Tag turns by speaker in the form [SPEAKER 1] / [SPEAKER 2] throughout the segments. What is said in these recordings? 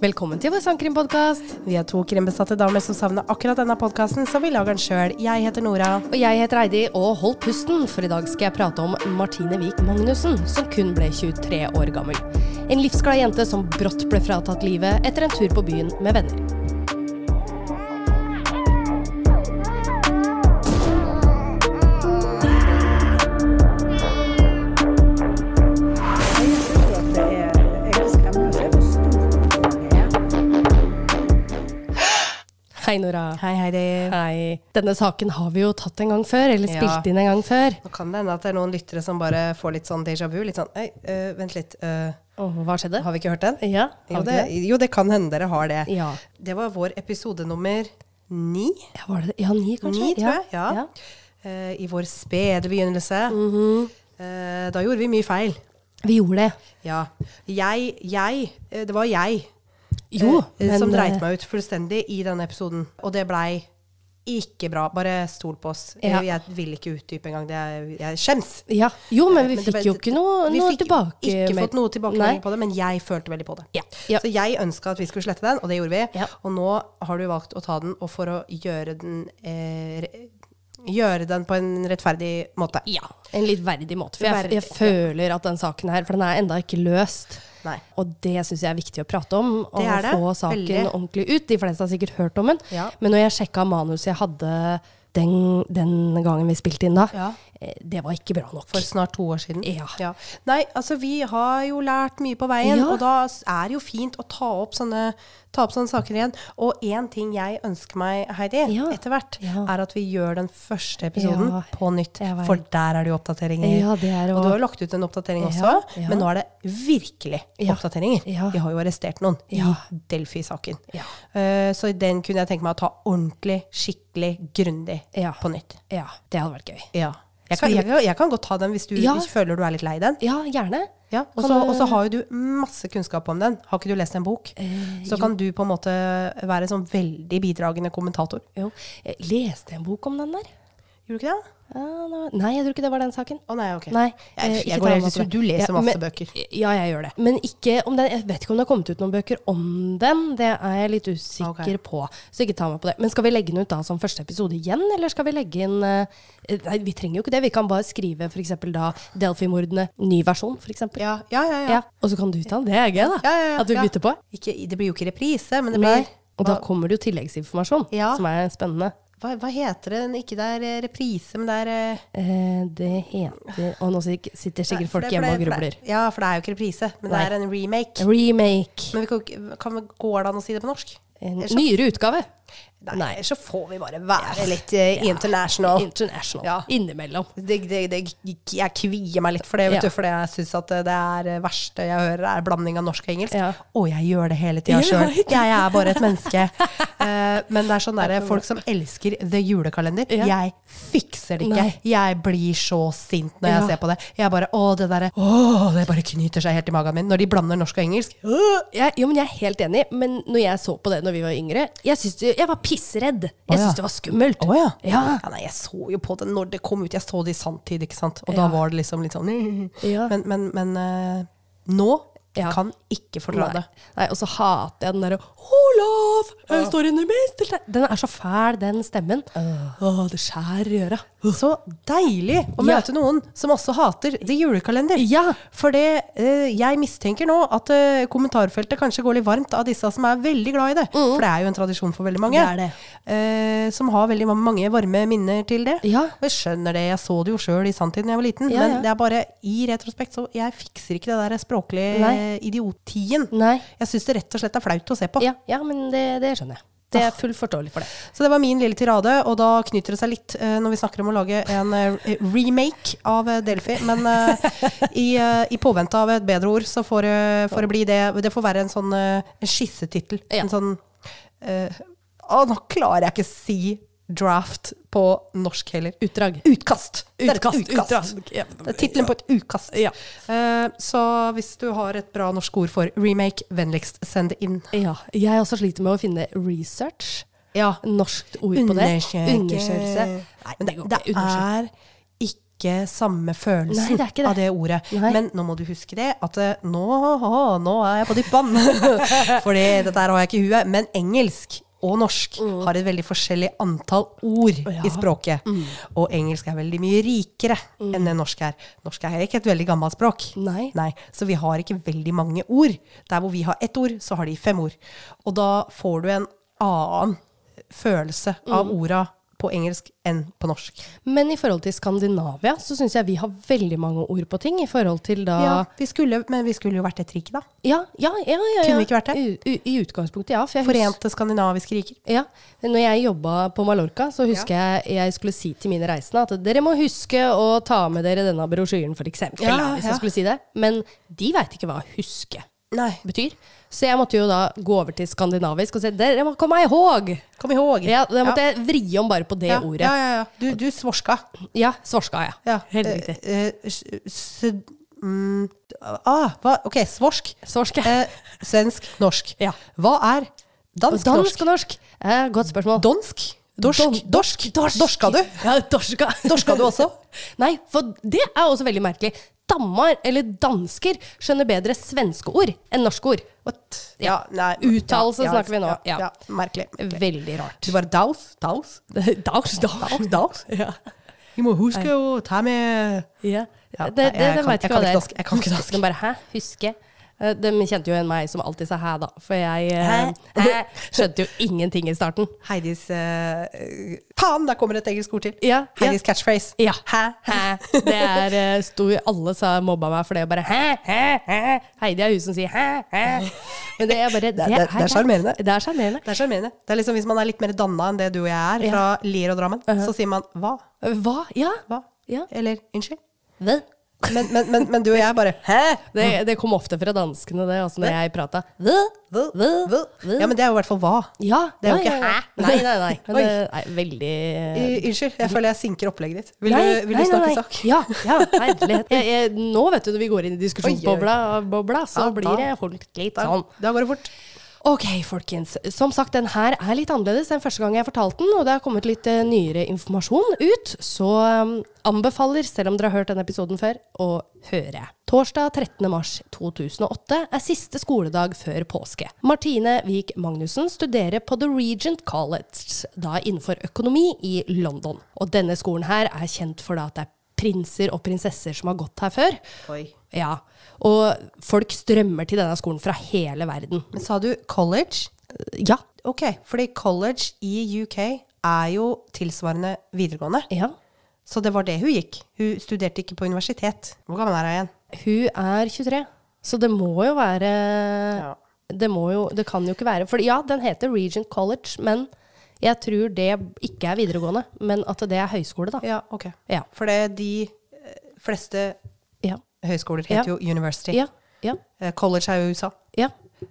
[SPEAKER 1] Velkommen til vår sangkrimpodkast.
[SPEAKER 2] Vi er to krimbesatte damer som savner akkurat denne podkasten, så vi lager den sjøl. Jeg heter Nora.
[SPEAKER 1] Og jeg heter Eidi, og hold pusten, for i dag skal jeg prate om Martine Wiik Magnussen, som kun ble 23 år gammel. En livsglad jente som brått ble fratatt livet etter en tur på byen med venner. Hei, Nora.
[SPEAKER 2] Hei, Heidi.
[SPEAKER 1] Hei. Denne saken har vi jo tatt en gang før, eller
[SPEAKER 2] Ja.
[SPEAKER 1] spilt inn en gang før.
[SPEAKER 2] Nå kan det hende at det er noen lyttere som bare får litt sånn déjà vu. Litt sånn Oi, øh, vent litt. øh,
[SPEAKER 1] Og hva skjedde?
[SPEAKER 2] har vi ikke hørt den?
[SPEAKER 1] Ja,
[SPEAKER 2] Jo
[SPEAKER 1] har vi
[SPEAKER 2] det,
[SPEAKER 1] det?
[SPEAKER 2] jo, det kan hende dere har det.
[SPEAKER 1] Ja.
[SPEAKER 2] Det var vår episode nummer ni.
[SPEAKER 1] ja, var det det? Ja, ni, kanskje?
[SPEAKER 2] Ni, tror jeg. Ja.
[SPEAKER 1] ja. Mhm.
[SPEAKER 2] Eh, I vår spede begynnelse. Eh, da gjorde vi mye feil.
[SPEAKER 1] Vi gjorde det.
[SPEAKER 2] Ja. Jeg, jeg eh, Det var jeg
[SPEAKER 1] Jo,
[SPEAKER 2] eh, som dreit
[SPEAKER 1] eh,
[SPEAKER 2] meg ut fullstendig i denne episoden. Og det blei ikke bra. Bare stol på oss.
[SPEAKER 1] Ja.
[SPEAKER 2] Jeg, jeg vil ikke utdype engang. Det er, jeg skjems.
[SPEAKER 1] eh, Ja. Jo, men vi
[SPEAKER 2] Eh, Men det
[SPEAKER 1] fikk
[SPEAKER 2] ble-
[SPEAKER 1] jo ikke noe,
[SPEAKER 2] vi
[SPEAKER 1] noe
[SPEAKER 2] fikk
[SPEAKER 1] tilbake.
[SPEAKER 2] Ikke
[SPEAKER 1] med-
[SPEAKER 2] fått noe tilbakemelding på det, men jeg følte veldig på det.
[SPEAKER 1] Ja. Ja.
[SPEAKER 2] Så jeg ønska at vi skulle slette den, og det gjorde vi.
[SPEAKER 1] Ja.
[SPEAKER 2] Og nå har du valgt å ta den, og for å gjøre den eh, re- Gjøre den på en rettferdig måte.
[SPEAKER 1] Ja, en litt verdig måte. For jeg,
[SPEAKER 2] Verdig,
[SPEAKER 1] jeg føler at den saken her, for den er enda ikke løst.
[SPEAKER 2] Nei.
[SPEAKER 1] Og det syns jeg er viktig å prate om, og
[SPEAKER 2] Det er det,
[SPEAKER 1] få saken
[SPEAKER 2] veldig.
[SPEAKER 1] ordentlig ut. De fleste har sikkert hørt om den,
[SPEAKER 2] Ja.
[SPEAKER 1] men når jeg sjekka manuset jeg hadde den, den gangen vi spilte inn da,
[SPEAKER 2] Ja.
[SPEAKER 1] eh, det var ikke bra nok.
[SPEAKER 2] For snart to år siden.
[SPEAKER 1] Ja.
[SPEAKER 2] Nei, altså vi har jo lært mye på veien,
[SPEAKER 1] Ja.
[SPEAKER 2] og da s- er det jo fint å ta opp sånne, ta opp sånne saker igjen. Og én ting jeg ønsker meg, Heidi,
[SPEAKER 1] Ja.
[SPEAKER 2] etter hvert,
[SPEAKER 1] Ja.
[SPEAKER 2] er at vi gjør den første episoden
[SPEAKER 1] Ja,
[SPEAKER 2] på nytt.
[SPEAKER 1] jeg vet.
[SPEAKER 2] For der er det jo oppdateringer.
[SPEAKER 1] Ja, det er det
[SPEAKER 2] og
[SPEAKER 1] også.
[SPEAKER 2] du har jo lagt ut en oppdatering
[SPEAKER 1] Ja,
[SPEAKER 2] også,
[SPEAKER 1] ja.
[SPEAKER 2] men nå er det virkelig
[SPEAKER 1] Ja.
[SPEAKER 2] oppdateringer.
[SPEAKER 1] Ja.
[SPEAKER 2] Vi har jo arrestert noen
[SPEAKER 1] Ja.
[SPEAKER 2] i Delphi-saken.
[SPEAKER 1] Ja.
[SPEAKER 2] Eh, så den kunne jeg tenke meg å ta ordentlig, skikkelig, grundig
[SPEAKER 1] Ja.
[SPEAKER 2] på nytt.
[SPEAKER 1] Ja, det hadde vært gøy.
[SPEAKER 2] Ja. Jeg kan,
[SPEAKER 1] Skulle-
[SPEAKER 2] jeg, kan- jeg kan godt ta den hvis du
[SPEAKER 1] Ja.
[SPEAKER 2] føler du er litt lei den.
[SPEAKER 1] Ja, gjerne.
[SPEAKER 2] Ja, og
[SPEAKER 1] Kan
[SPEAKER 2] så
[SPEAKER 1] du-
[SPEAKER 2] og så har jo du masse kunnskap om den. Har ikke du lest en bok?
[SPEAKER 1] Eh,
[SPEAKER 2] så kan du på en måte være sånn veldig bidragende kommentator.
[SPEAKER 1] Jo. Jeg leste en bok om den der.
[SPEAKER 2] Gjorde du ikke det?
[SPEAKER 1] Ja, nå- Nei, jeg tror ikke det var den saken.
[SPEAKER 2] Å nei, ok.
[SPEAKER 1] Nei,
[SPEAKER 2] Jeg-
[SPEAKER 1] eh, ikke
[SPEAKER 2] jeg går
[SPEAKER 1] ta
[SPEAKER 2] helt-
[SPEAKER 1] meg på
[SPEAKER 2] du-
[SPEAKER 1] det.
[SPEAKER 2] du leser masse
[SPEAKER 1] men-
[SPEAKER 2] bøker.
[SPEAKER 1] Ja, jeg gjør det. Men ikke om den, jeg vet ikke om det har kommet ut noen bøker om den. Det er jeg litt usikker
[SPEAKER 2] Ok.
[SPEAKER 1] på. Så ikke ta meg på det. Men skal vi legge den ut da som første episode igjen, eller skal vi legge inn eh, Nei, vi trenger jo ikke det. Vi kan bare skrive f.eks. da Delphi-mordene, ny versjon, f.eks. Ja.
[SPEAKER 2] Ja, ja, ja. ja.
[SPEAKER 1] ja. Og så kan du ta den. Det er gøy, da.
[SPEAKER 2] Ja, ja, ja,
[SPEAKER 1] At vi
[SPEAKER 2] ja.
[SPEAKER 1] bytter på.
[SPEAKER 2] Ikke, det blir jo ikke reprise, men det
[SPEAKER 1] Nei.
[SPEAKER 2] blir
[SPEAKER 1] Og da kommer det jo tilleggsinformasjon,
[SPEAKER 2] Ja.
[SPEAKER 1] som er spennende.
[SPEAKER 2] hva, hva heter det? Den- Ikke det er eh, reprise, men det er eh,
[SPEAKER 1] Eh, det heter Og nå sitter sitter
[SPEAKER 2] nei,
[SPEAKER 1] sikkert
[SPEAKER 2] for
[SPEAKER 1] folk
[SPEAKER 2] det- for
[SPEAKER 1] hjemme og
[SPEAKER 2] det- for det-
[SPEAKER 1] grubler.
[SPEAKER 2] Ja, for det er jo ikke reprise, men
[SPEAKER 1] Nei.
[SPEAKER 2] det er en remake.
[SPEAKER 1] Remake.
[SPEAKER 2] Men vi kan, ikke- kan vi, går det an å si det på norsk?
[SPEAKER 1] En
[SPEAKER 2] Ellers så-
[SPEAKER 1] nyere utgave.
[SPEAKER 2] Nei,
[SPEAKER 1] Nei.
[SPEAKER 2] ellers så får vi bare være litt eh, international.
[SPEAKER 1] International.
[SPEAKER 2] Ja.
[SPEAKER 1] Innimellom.
[SPEAKER 2] det, det, det, jeg kvier meg litt for det, vet
[SPEAKER 1] Ja.
[SPEAKER 2] du, for jeg syns at eh, det er det verste jeg hører, er blanding av norsk og engelsk.
[SPEAKER 1] Ja.
[SPEAKER 2] Og jeg gjør det hele tida
[SPEAKER 1] Jeg
[SPEAKER 2] sjøl.
[SPEAKER 1] vet.
[SPEAKER 2] Jeg er bare et menneske. Eh, men det er sånn derre folk som elsker The Julekalender.
[SPEAKER 1] Ja.
[SPEAKER 2] Jeg fikser det ikke.
[SPEAKER 1] Nei.
[SPEAKER 2] Jeg blir så sint når
[SPEAKER 1] Ja.
[SPEAKER 2] jeg ser på det. Jeg bare Å, det derre Å, det bare knyter seg helt i magen min når de blander norsk og engelsk. Øh!
[SPEAKER 1] Jeg, jo, men jeg er helt enig, men når jeg så på det når vi var yngre Jeg, synes det, jeg var pissredd. Jeg
[SPEAKER 2] Å, ja.
[SPEAKER 1] syntes det var skummelt.
[SPEAKER 2] Å ja.
[SPEAKER 1] Ja.
[SPEAKER 2] Ja, nei, jeg så jo på det når det kom ut. Jeg så det i sanntid, ikke sant. Og
[SPEAKER 1] Ja.
[SPEAKER 2] da var det liksom litt sånn
[SPEAKER 1] Ja.
[SPEAKER 2] Men, men, men eh, nå
[SPEAKER 1] Ja.
[SPEAKER 2] kan ikke fordra
[SPEAKER 1] Nei.
[SPEAKER 2] det.
[SPEAKER 1] Nei, og så hater jeg den derre 'Olav, jeg står inne i mesterstein'. Den er så fæl, den stemmen. Å, det skjærer i øra.
[SPEAKER 2] Så deilig å
[SPEAKER 1] Ja.
[SPEAKER 2] møte noen som også hater The Julekalender.
[SPEAKER 1] Ja.
[SPEAKER 2] For det, eh, jeg mistenker nå at eh, kommentarfeltet kanskje går litt varmt av disse som er veldig glad i det. For det er jo en tradisjon for veldig mange.
[SPEAKER 1] Mm. Det er det.
[SPEAKER 2] Eh, som har veldig ma- mange varme minner til det.
[SPEAKER 1] Ja.
[SPEAKER 2] Og jeg skjønner det, jeg så det jo sjøl i sanntid da jeg var liten.
[SPEAKER 1] Ja,
[SPEAKER 2] men
[SPEAKER 1] ja.
[SPEAKER 2] det er bare i retrospekt, så jeg fikser ikke det der språklige
[SPEAKER 1] Nei.
[SPEAKER 2] eh, idiotien.
[SPEAKER 1] Nei.
[SPEAKER 2] Jeg syns det rett og slett er flaut å se på.
[SPEAKER 1] Ja, ja men det, det skjønner jeg. Det
[SPEAKER 2] Ah.
[SPEAKER 1] er fullt forståelig for det.
[SPEAKER 2] Så det var min lille tirade, og da knyter det seg litt eh, når vi snakker om å lage en eh, remake av eh, Delphi. Men eh, i, eh, i påvente av et bedre ord, så får, det- får det bli det. Det får være en sånn eh, en skissetittel.
[SPEAKER 1] Ja.
[SPEAKER 2] En sånn eh, Å, nå klarer jeg ikke si draft på norsk heller.
[SPEAKER 1] Utdrag.
[SPEAKER 2] Utkast! Det er et
[SPEAKER 1] Utkast, utdrag. Ja.
[SPEAKER 2] Det er tittelen på et utkast.
[SPEAKER 1] Ja.
[SPEAKER 2] Eh, så hvis du har et bra norsk ord for remake, vennligst send det inn.
[SPEAKER 1] Ja. Jeg også sliter med å finne research.
[SPEAKER 2] Ja,
[SPEAKER 1] Norskt ord på det.
[SPEAKER 2] Undersøke.
[SPEAKER 1] Undersøkelse. Nei,
[SPEAKER 2] Men
[SPEAKER 1] det
[SPEAKER 2] det,
[SPEAKER 1] går
[SPEAKER 2] det
[SPEAKER 1] ikke. Undersøkelse.
[SPEAKER 2] er ikke ikke samme
[SPEAKER 1] Nei,
[SPEAKER 2] følelsen
[SPEAKER 1] det er ikke det.
[SPEAKER 2] av det ordet.
[SPEAKER 1] Nei.
[SPEAKER 2] Men nå må du huske det, at eh, nå, haha, nå er jeg på dypt vann. For dette her har jeg ikke i huet. Men engelsk og norsk har et veldig forskjellig antall ord
[SPEAKER 1] Mm. Ja. Mm.
[SPEAKER 2] i språket. Og engelsk er veldig mye rikere enn det norsk er. Norsk er ikke et veldig gammelt språk.
[SPEAKER 1] Nei.
[SPEAKER 2] Nei, så vi har ikke veldig mange ord. Der hvor vi har ett ord, så har de fem ord. Og da får du en annen følelse av orda på engelsk enn på norsk.
[SPEAKER 1] Men i forhold til Skandinavia, så syns jeg vi har veldig mange ord på ting. I forhold til da
[SPEAKER 2] Ja, vi skulle, men vi skulle jo vært et rike, da.
[SPEAKER 1] Ja, ja, ja. ja, ja.
[SPEAKER 2] Kunne vi ikke vært det?
[SPEAKER 1] U u I utgangspunktet, ja. For jeg husker-
[SPEAKER 2] Forente skandinaviske riker.
[SPEAKER 1] Ja. Når jeg jobba på Mallorca, så husker jeg jeg skulle si til mine reisende at dere må huske å ta med dere denne brosjyren, for eksempel.
[SPEAKER 2] Ja,
[SPEAKER 1] da, hvis
[SPEAKER 2] ja.
[SPEAKER 1] jeg skulle si det. Men de veit ikke hva 'huske'
[SPEAKER 2] Nei.
[SPEAKER 1] betyr. Så jeg måtte jo da gå over til skandinavisk og si 'dere må komme ihåg'.
[SPEAKER 2] Kom ihåg.
[SPEAKER 1] Ja, da måtte
[SPEAKER 2] Ja.
[SPEAKER 1] jeg vri om bare på det
[SPEAKER 2] ja.
[SPEAKER 1] ordet.
[SPEAKER 2] Ja, ja, ja. Du, du svorska.
[SPEAKER 1] Ja, svarska, ja.
[SPEAKER 2] Ja.
[SPEAKER 1] Helt riktig.
[SPEAKER 2] Eh, eh, s- s- mm, ah, hva? Ok, svorsk.
[SPEAKER 1] Svarske.
[SPEAKER 2] Eh, svensk, norsk.
[SPEAKER 1] Ja.
[SPEAKER 2] Hva er
[SPEAKER 1] Og
[SPEAKER 2] dansk,
[SPEAKER 1] dansk
[SPEAKER 2] norsk?
[SPEAKER 1] og norsk. Eh, godt spørsmål.
[SPEAKER 2] Donsk? Dorsk?
[SPEAKER 1] Don-
[SPEAKER 2] dorsk? Dorska du?
[SPEAKER 1] Ja, dorska.
[SPEAKER 2] Dorska du også?
[SPEAKER 1] Nei, for det er også veldig merkelig. Dammar, eller dansker, skjønner bedre svenske ord enn norske ord.
[SPEAKER 2] What? Ja, nei.
[SPEAKER 1] Uttalelse
[SPEAKER 2] ja, ja,
[SPEAKER 1] snakker vi nå.
[SPEAKER 2] Ja,
[SPEAKER 1] Ja.
[SPEAKER 2] ja, merkelig.
[SPEAKER 1] Veldig rart.
[SPEAKER 2] Du bare daus, daus,
[SPEAKER 1] Daus,
[SPEAKER 2] daus, daus.
[SPEAKER 1] Ja.
[SPEAKER 2] Vi må huske å ta med
[SPEAKER 1] Ja.
[SPEAKER 2] Ja,
[SPEAKER 1] Det, det,
[SPEAKER 2] nei, jeg
[SPEAKER 1] de
[SPEAKER 2] kan-
[SPEAKER 1] vet
[SPEAKER 2] jeg
[SPEAKER 1] ikke hva det
[SPEAKER 2] kan ikke
[SPEAKER 1] er.
[SPEAKER 2] dansk. Jeg kan ikke dansk.
[SPEAKER 1] De bare 'hæ, huske'? Eh, De kjente jo igjen meg som alltid sa 'hæ', da. For jeg eh,
[SPEAKER 2] Hæ?
[SPEAKER 1] hæ, skjønte jo ingenting i starten.
[SPEAKER 2] Heidis eh, eh, Faen, der kommer et engelsk ord til.
[SPEAKER 1] Ja, ja.
[SPEAKER 2] Heidis catchphrase.
[SPEAKER 1] Ja.
[SPEAKER 2] Hæ?
[SPEAKER 1] Hæ? Det er eh, stor Alle sa mobba meg for det. og Bare hæ, hæ, hæ. Heidi er hun som sier hæ, hæ. Men det er bare Det,
[SPEAKER 2] det- det er sjarmerende.
[SPEAKER 1] Det er sjarmerende.
[SPEAKER 2] Det er sjarmerende. Det er liksom hvis man er litt mer danna enn det du og jeg er, fra Lier og Drammen, så sier man hva?
[SPEAKER 1] Hva? Ja.
[SPEAKER 2] Hva?
[SPEAKER 1] Uh-huh. Ja.
[SPEAKER 2] Eller unnskyld?
[SPEAKER 1] Hva?
[SPEAKER 2] Men, men, men, men du og jeg bare hæ?
[SPEAKER 1] Det, det kom ofte fra danskene, det, altså når jeg prata. Hva?
[SPEAKER 2] Hva?
[SPEAKER 1] Hva?
[SPEAKER 2] Hva? Ja, men det er jo i hvert fall hva.
[SPEAKER 1] ja,
[SPEAKER 2] det er jo
[SPEAKER 1] ja,
[SPEAKER 2] ikke
[SPEAKER 1] ja, ja.
[SPEAKER 2] hæ.
[SPEAKER 1] Nei, nei, nei. Men
[SPEAKER 2] Oi.
[SPEAKER 1] det er veldig eh,
[SPEAKER 2] I, Eh, unnskyld, jeg føler jeg sinker opplegget ditt. Vil,
[SPEAKER 1] Nei,
[SPEAKER 2] du, vil
[SPEAKER 1] nei,
[SPEAKER 2] du
[SPEAKER 1] nei,
[SPEAKER 2] snakke
[SPEAKER 1] nei.
[SPEAKER 2] sak?
[SPEAKER 1] Ja, ja, herlighet. Jeg, jeg, nå vet du når vi går inn i diskusjonsbobla, bobla, så
[SPEAKER 2] Ja, da-
[SPEAKER 1] blir det holdt litt
[SPEAKER 2] Da,
[SPEAKER 1] sånn.
[SPEAKER 2] da går det fort.
[SPEAKER 1] Ok, folkens. Som sagt, den her er litt annerledes enn første gang jeg fortalte den, og det har kommet litt eh, nyere informasjon ut, så um, anbefaler, selv om dere har hørt denne episoden før, å høre. Torsdag 13. mars 2008 er siste skoledag før påske. Martine Wiik Magnussen studerer på The Regent College, da innenfor økonomi i London. Og denne skolen her er kjent for da at det er prinser og prinsesser som har gått her før.
[SPEAKER 2] Oi.
[SPEAKER 1] Ja, og folk strømmer til denne skolen fra hele verden.
[SPEAKER 2] Men sa du college?
[SPEAKER 1] Ja,
[SPEAKER 2] Ok, fordi college i UK er jo tilsvarende videregående.
[SPEAKER 1] Ja.
[SPEAKER 2] Så det var det hun gikk. Hun studerte ikke på universitet. Hvor gammel er hun igjen?
[SPEAKER 1] Hun er 23, så det må jo være
[SPEAKER 2] Ja.
[SPEAKER 1] Det må jo Det kan jo ikke være For ja, den heter Regent College, men jeg tror det ikke er videregående, men at det er høyskole, da.
[SPEAKER 2] Ja, ok.
[SPEAKER 1] Ja.
[SPEAKER 2] For det de eh, fleste
[SPEAKER 1] Ja.
[SPEAKER 2] høyskoler heter
[SPEAKER 1] Ja.
[SPEAKER 2] jo university.
[SPEAKER 1] Ja. ja,
[SPEAKER 2] Eh, College er jo USA.
[SPEAKER 1] ja.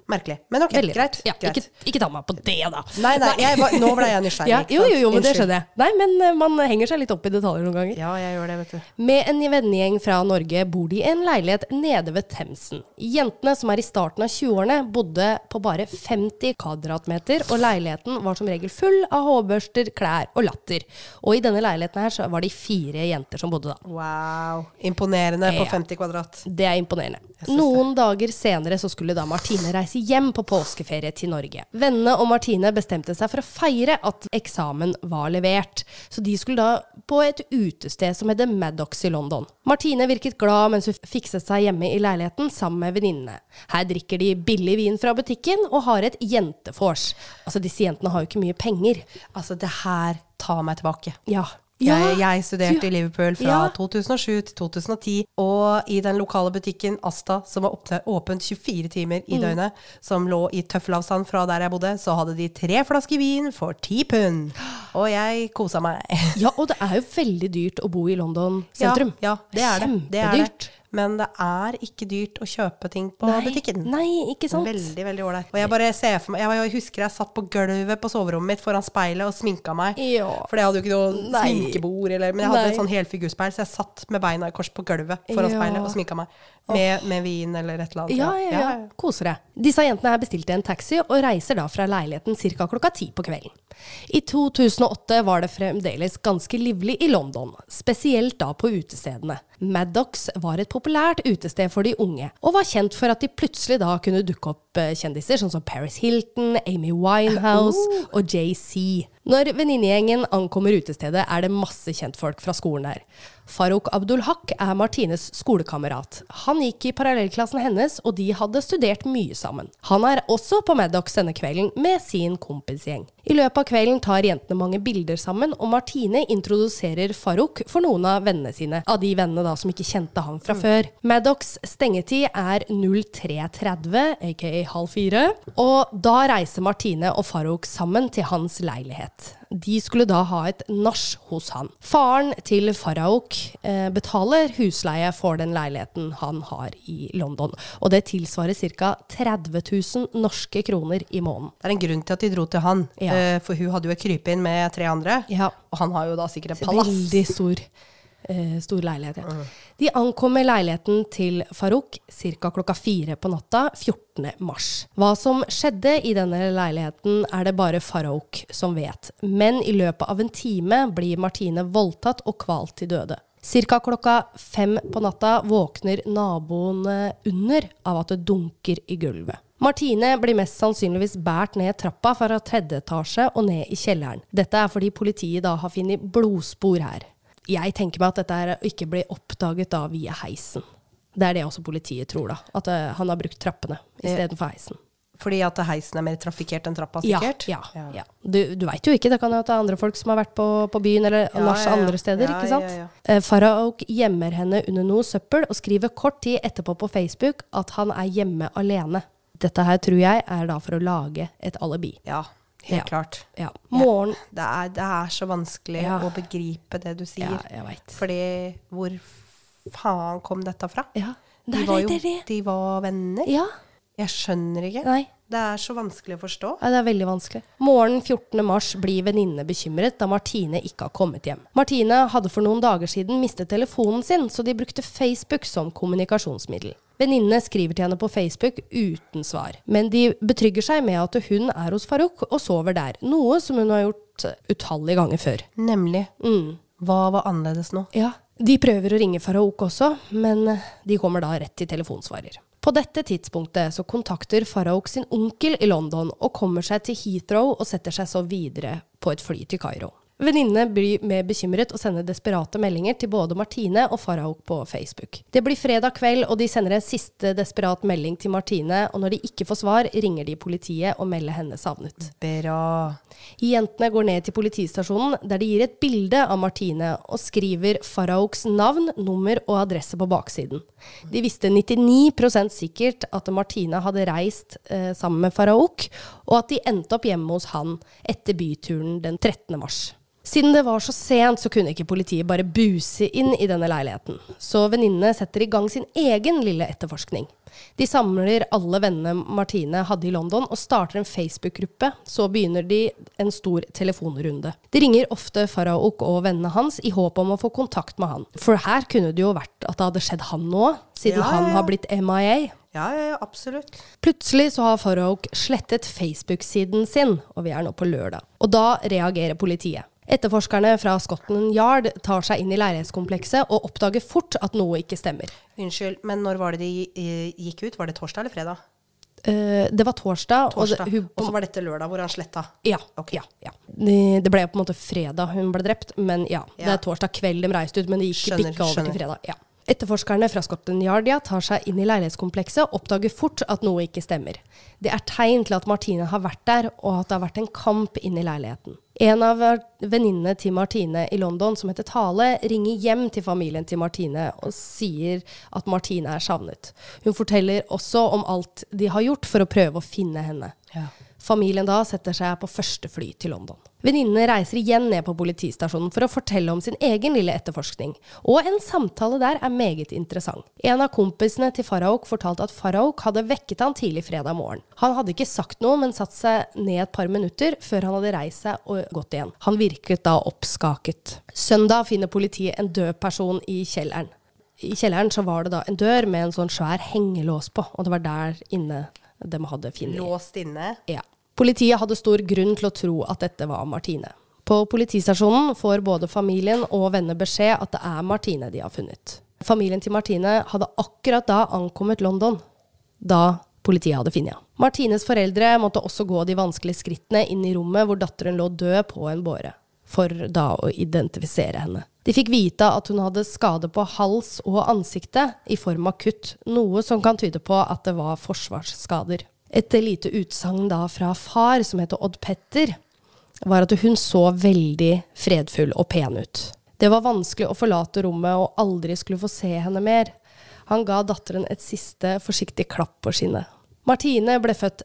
[SPEAKER 2] Merkelig. Men ok,
[SPEAKER 1] Veldig
[SPEAKER 2] greit.
[SPEAKER 1] rart. Ja,
[SPEAKER 2] greit.
[SPEAKER 1] ikke, ikke ta meg på det, da.
[SPEAKER 2] Nei, nei, jeg var, nå ble jeg nysgjerrig.
[SPEAKER 1] Ja,
[SPEAKER 2] ikke
[SPEAKER 1] jo,
[SPEAKER 2] sant?
[SPEAKER 1] jo, jo, men det
[SPEAKER 2] Unnskyld.
[SPEAKER 1] skjønner jeg. Nei, men eh, man henger seg litt opp i detaljer noen ganger.
[SPEAKER 2] Ja, jeg gjør det, vet du.
[SPEAKER 1] Med en vennegjeng fra Norge bor de i en leilighet nede ved Themsen. Jentene, som er i starten av 20-årene, bodde på bare 50 kvadratmeter, og leiligheten var som regel full av hårbørster, klær og latter. Og i denne leiligheten her så var de fire jenter som bodde da.
[SPEAKER 2] Wow. Imponerende på
[SPEAKER 1] Ja.
[SPEAKER 2] 50 kvadrat.
[SPEAKER 1] Det er imponerende. Noen dager senere så skulle da Martine reise hjem på påskeferie til Norge. Vennene og Martine bestemte seg for å feire at eksamen var levert, så de skulle da på et utested som heter Maddox i London. Martine virket glad mens hun fikset seg hjemme i leiligheten sammen med venninnene. Her drikker de billig vin fra butikken og har et jentefors. Altså, disse jentene har jo ikke mye penger.
[SPEAKER 2] Altså, det her tar meg tilbake.
[SPEAKER 1] Ja.
[SPEAKER 2] Jeg, jeg studerte
[SPEAKER 1] Du-
[SPEAKER 2] i Liverpool fra
[SPEAKER 1] Ja.
[SPEAKER 2] 2007 til 2010, og i den lokale butikken Asta, som var åpne, åpen 24 timer
[SPEAKER 1] Mm.
[SPEAKER 2] i døgnet, som lå i tøffelavstand fra der jeg bodde, så hadde de tre flasker vin for ti pund. Og jeg kosa meg.
[SPEAKER 1] Ja, og det er jo veldig dyrt å bo i London sentrum.
[SPEAKER 2] Ja, ja det er det. det, er det.
[SPEAKER 1] Kjempedyrt.
[SPEAKER 2] men det er ikke dyrt å kjøpe ting på butikken.
[SPEAKER 1] Nei, ikke sant?
[SPEAKER 2] Veldig, veldig ålreit. Og jeg bare ser for meg, jeg, jeg husker jeg satt på gulvet på soverommet mitt foran speilet og sminka meg.
[SPEAKER 1] Ja.
[SPEAKER 2] For jeg hadde jo ikke noe
[SPEAKER 1] Nei.
[SPEAKER 2] sminkebord, eller, men jeg
[SPEAKER 1] Nei.
[SPEAKER 2] hadde et sånn helfigurspeil, så jeg satt med beina i kors på gulvet foran
[SPEAKER 1] Ja.
[SPEAKER 2] speilet og sminka meg. Med, med vin eller et eller annet.
[SPEAKER 1] Ja, ja, ja. Koser deg. Disse jentene her bestilte en taxi og reiser da fra leiligheten ca. klokka ti på kvelden. I 2008 var det fremdeles ganske livlig i London, spesielt da på utestedene. Maddox var et populært utested for de unge, og var kjent for at de plutselig da kunne dukke opp eh, kjendiser sånn som Paris Hilton, Amy Winehouse og JC. Når venninnegjengen ankommer utestedet, er det masse kjentfolk fra skolen her. Farouk Abdul-Haq er Martines skolekamerat. Han gikk i parallellklassen hennes, og de hadde studert mye sammen. Han er også på Maddox denne kvelden med sin kompisgjeng. I løpet av kvelden tar jentene mange bilder sammen, og Martine introduserer Farouk for noen av vennene sine, av de vennene da som ikke kjente han fra før. Maddox stengetid er 03.30, aka halv fire, og da reiser Martine og Farouk sammen til hans leilighet. De skulle da ha et nach hos han. Faren til Faraok eh, betaler husleie for den leiligheten han har i London. Og det tilsvarer ca. 30 000 norske kroner i måneden.
[SPEAKER 2] Det er en grunn til at de dro til han,
[SPEAKER 1] Ja.
[SPEAKER 2] eh, for hun hadde jo et krypinn med tre andre.
[SPEAKER 1] Ja.
[SPEAKER 2] Og han har jo da sikkert et palass.
[SPEAKER 1] Veldig stor, eh, stor leilighet. Ja. De ankommer leiligheten til Farouk ca. klokka fire på natta 14. mars. Hva som skjedde i denne leiligheten, er det bare Farouk som vet. Men i løpet av en time blir Martine voldtatt og kvalt til døde. Cirka klokka fem på natta våkner naboene under av at det dunker i gulvet. Martine blir mest sannsynligvis båret ned trappa fra tredje etasje og ned i kjelleren. Dette er fordi politiet da har funnet blodspor her. Jeg tenker meg at dette er å ikke bli oppdaget da via heisen. Det er det også politiet tror, da. At eh, han har brukt trappene istedenfor heisen.
[SPEAKER 2] Fordi at heisen er mer trafikkert enn trappa,
[SPEAKER 1] Ja,
[SPEAKER 2] sikkert.
[SPEAKER 1] ja, ja. Du, du veit jo ikke, det kan jo at det er andre folk som har vært på, på byen eller
[SPEAKER 2] Ja,
[SPEAKER 1] nach
[SPEAKER 2] ja, ja.
[SPEAKER 1] andre steder,
[SPEAKER 2] Ja,
[SPEAKER 1] ikke sant?
[SPEAKER 2] ja, ja.
[SPEAKER 1] Eh, Faraok gjemmer henne under noe søppel og skriver kort tid etterpå på Facebook at han er hjemme alene. Dette her tror jeg er da for å lage et alibi.
[SPEAKER 2] Ja, helt
[SPEAKER 1] Ja.
[SPEAKER 2] klart.
[SPEAKER 1] Ja. Morgen
[SPEAKER 2] Det er, det er så vanskelig
[SPEAKER 1] Ja.
[SPEAKER 2] å begripe det du sier.
[SPEAKER 1] Ja, jeg veit.
[SPEAKER 2] Fordi hvor faen kom dette fra?
[SPEAKER 1] Ja.
[SPEAKER 2] De
[SPEAKER 1] Det er
[SPEAKER 2] var
[SPEAKER 1] det,
[SPEAKER 2] jo
[SPEAKER 1] det er det.
[SPEAKER 2] de var venner.
[SPEAKER 1] Ja.
[SPEAKER 2] Jeg skjønner ikke.
[SPEAKER 1] Nei.
[SPEAKER 2] Det er så vanskelig å forstå.
[SPEAKER 1] Ja, det er veldig vanskelig. Morgenen 14. mars blir venninnene bekymret da Martine ikke har kommet hjem. Martine hadde for noen dager siden mistet telefonen sin, så de brukte Facebook som kommunikasjonsmiddel. Venninnene skriver til henne på Facebook uten svar, men de betrygger seg med at hun er hos Farouk og sover der, noe som hun har gjort utallige ganger før.
[SPEAKER 2] Nemlig.
[SPEAKER 1] Mm.
[SPEAKER 2] Hva var annerledes nå?
[SPEAKER 1] Ja, De prøver å ringe Faraok også, men eh, de kommer da rett til telefonsvarer. På dette tidspunktet så kontakter Faraok sin onkel i London og kommer seg til Heathrow og setter seg så videre på et fly til Kairo. Venninnene blir mer bekymret og sender desperate meldinger til både Martine og Faraok på Facebook. Det blir fredag kveld, og de sender en siste desperat melding til Martine, og når de ikke får svar, ringer de politiet og melder henne savnet.
[SPEAKER 2] Bra.
[SPEAKER 1] Jentene går ned til politistasjonen, der de gir et bilde av Martine og skriver Faraoks navn, nummer og adresse på baksiden. De visste 99 sikkert at Martine hadde reist eh, sammen med Faraok, og at de endte opp hjemme hos han etter byturen den 13. mars. Siden det var så sent, så kunne ikke politiet bare buse inn i denne leiligheten. Så venninnene setter i gang sin egen lille etterforskning. De samler alle vennene Martine hadde i London, og starter en Facebook-gruppe. Så begynner de en stor telefonrunde. De ringer ofte Faraok og vennene hans i håp om å få kontakt med han. For her kunne det jo vært at det hadde skjedd han nå, siden
[SPEAKER 2] Ja, ja,
[SPEAKER 1] han
[SPEAKER 2] ja.
[SPEAKER 1] har blitt MIA.
[SPEAKER 2] Ja, ja, ja, absolutt.
[SPEAKER 1] Plutselig så har Farrouk slettet Facebook-siden sin, og vi er nå på lørdag. Og da reagerer politiet. Etterforskerne fra Scotland Yard tar seg inn i leilighetskomplekset og oppdager fort at noe ikke stemmer.
[SPEAKER 2] Unnskyld, men når var det de eh, gikk ut? Var det torsdag eller fredag?
[SPEAKER 1] Eh, det var torsdag,
[SPEAKER 2] Torsdag.
[SPEAKER 1] og det, hun
[SPEAKER 2] Og så var dette lørdag, hvor han sletta.
[SPEAKER 1] Ja.
[SPEAKER 2] Ok.
[SPEAKER 1] ja, ja. Det det ble på en måte fredag hun ble drept, men ja. Det
[SPEAKER 2] Ja.
[SPEAKER 1] er torsdag kveld de reiste ut, men det gikk
[SPEAKER 2] Skjønner,
[SPEAKER 1] bikka over
[SPEAKER 2] skjønner.
[SPEAKER 1] til fredag. Ja. Etterforskerne fra Scotland Yard ja, tar seg inn i leilighetskomplekset og oppdager fort at noe ikke stemmer. Det er tegn til at Martine har vært der, og at det har vært en kamp inne i leiligheten. En av venninnene til Martine i London, som heter Tale, ringer hjem til familien til Martine og sier at Martine er savnet. Hun forteller også om alt de har gjort for å prøve å finne henne.
[SPEAKER 2] Ja.
[SPEAKER 1] Familien da setter seg på første fly til London. Venninnene reiser igjen ned på politistasjonen for å fortelle om sin egen lille etterforskning, og en samtale der er meget interessant. En av kompisene til Faraok fortalte at Faraok hadde vekket han tidlig fredag morgen. Han hadde ikke sagt noe, men satt seg ned et par minutter før han hadde reist seg og gått igjen. Han virket da oppskaket. Søndag finner politiet en død person i kjelleren. I kjelleren så var det da en dør med en sånn svær hengelås på, og det var der inne de hadde funnet
[SPEAKER 2] Låst inne.
[SPEAKER 1] ja. Politiet hadde stor grunn til å tro at dette var Martine. På politistasjonen får både familien og venner beskjed at det er Martine de har funnet. Familien til Martine hadde akkurat da ankommet London, da politiet hadde funnet henne. Martines foreldre måtte også gå de vanskelige skrittene inn i rommet hvor datteren lå død på en båre, for da å identifisere henne. De fikk vite at hun hadde skade på hals og ansiktet i form av kutt, noe som kan tyde på at det var forsvarsskader. Et lite utsagn da fra far, som heter Odd Petter, var at hun så veldig fredfull og pen ut. Det var vanskelig å forlate rommet og aldri skulle få se henne mer. Han ga datteren et siste forsiktig klapp på skinnet. Martine ble født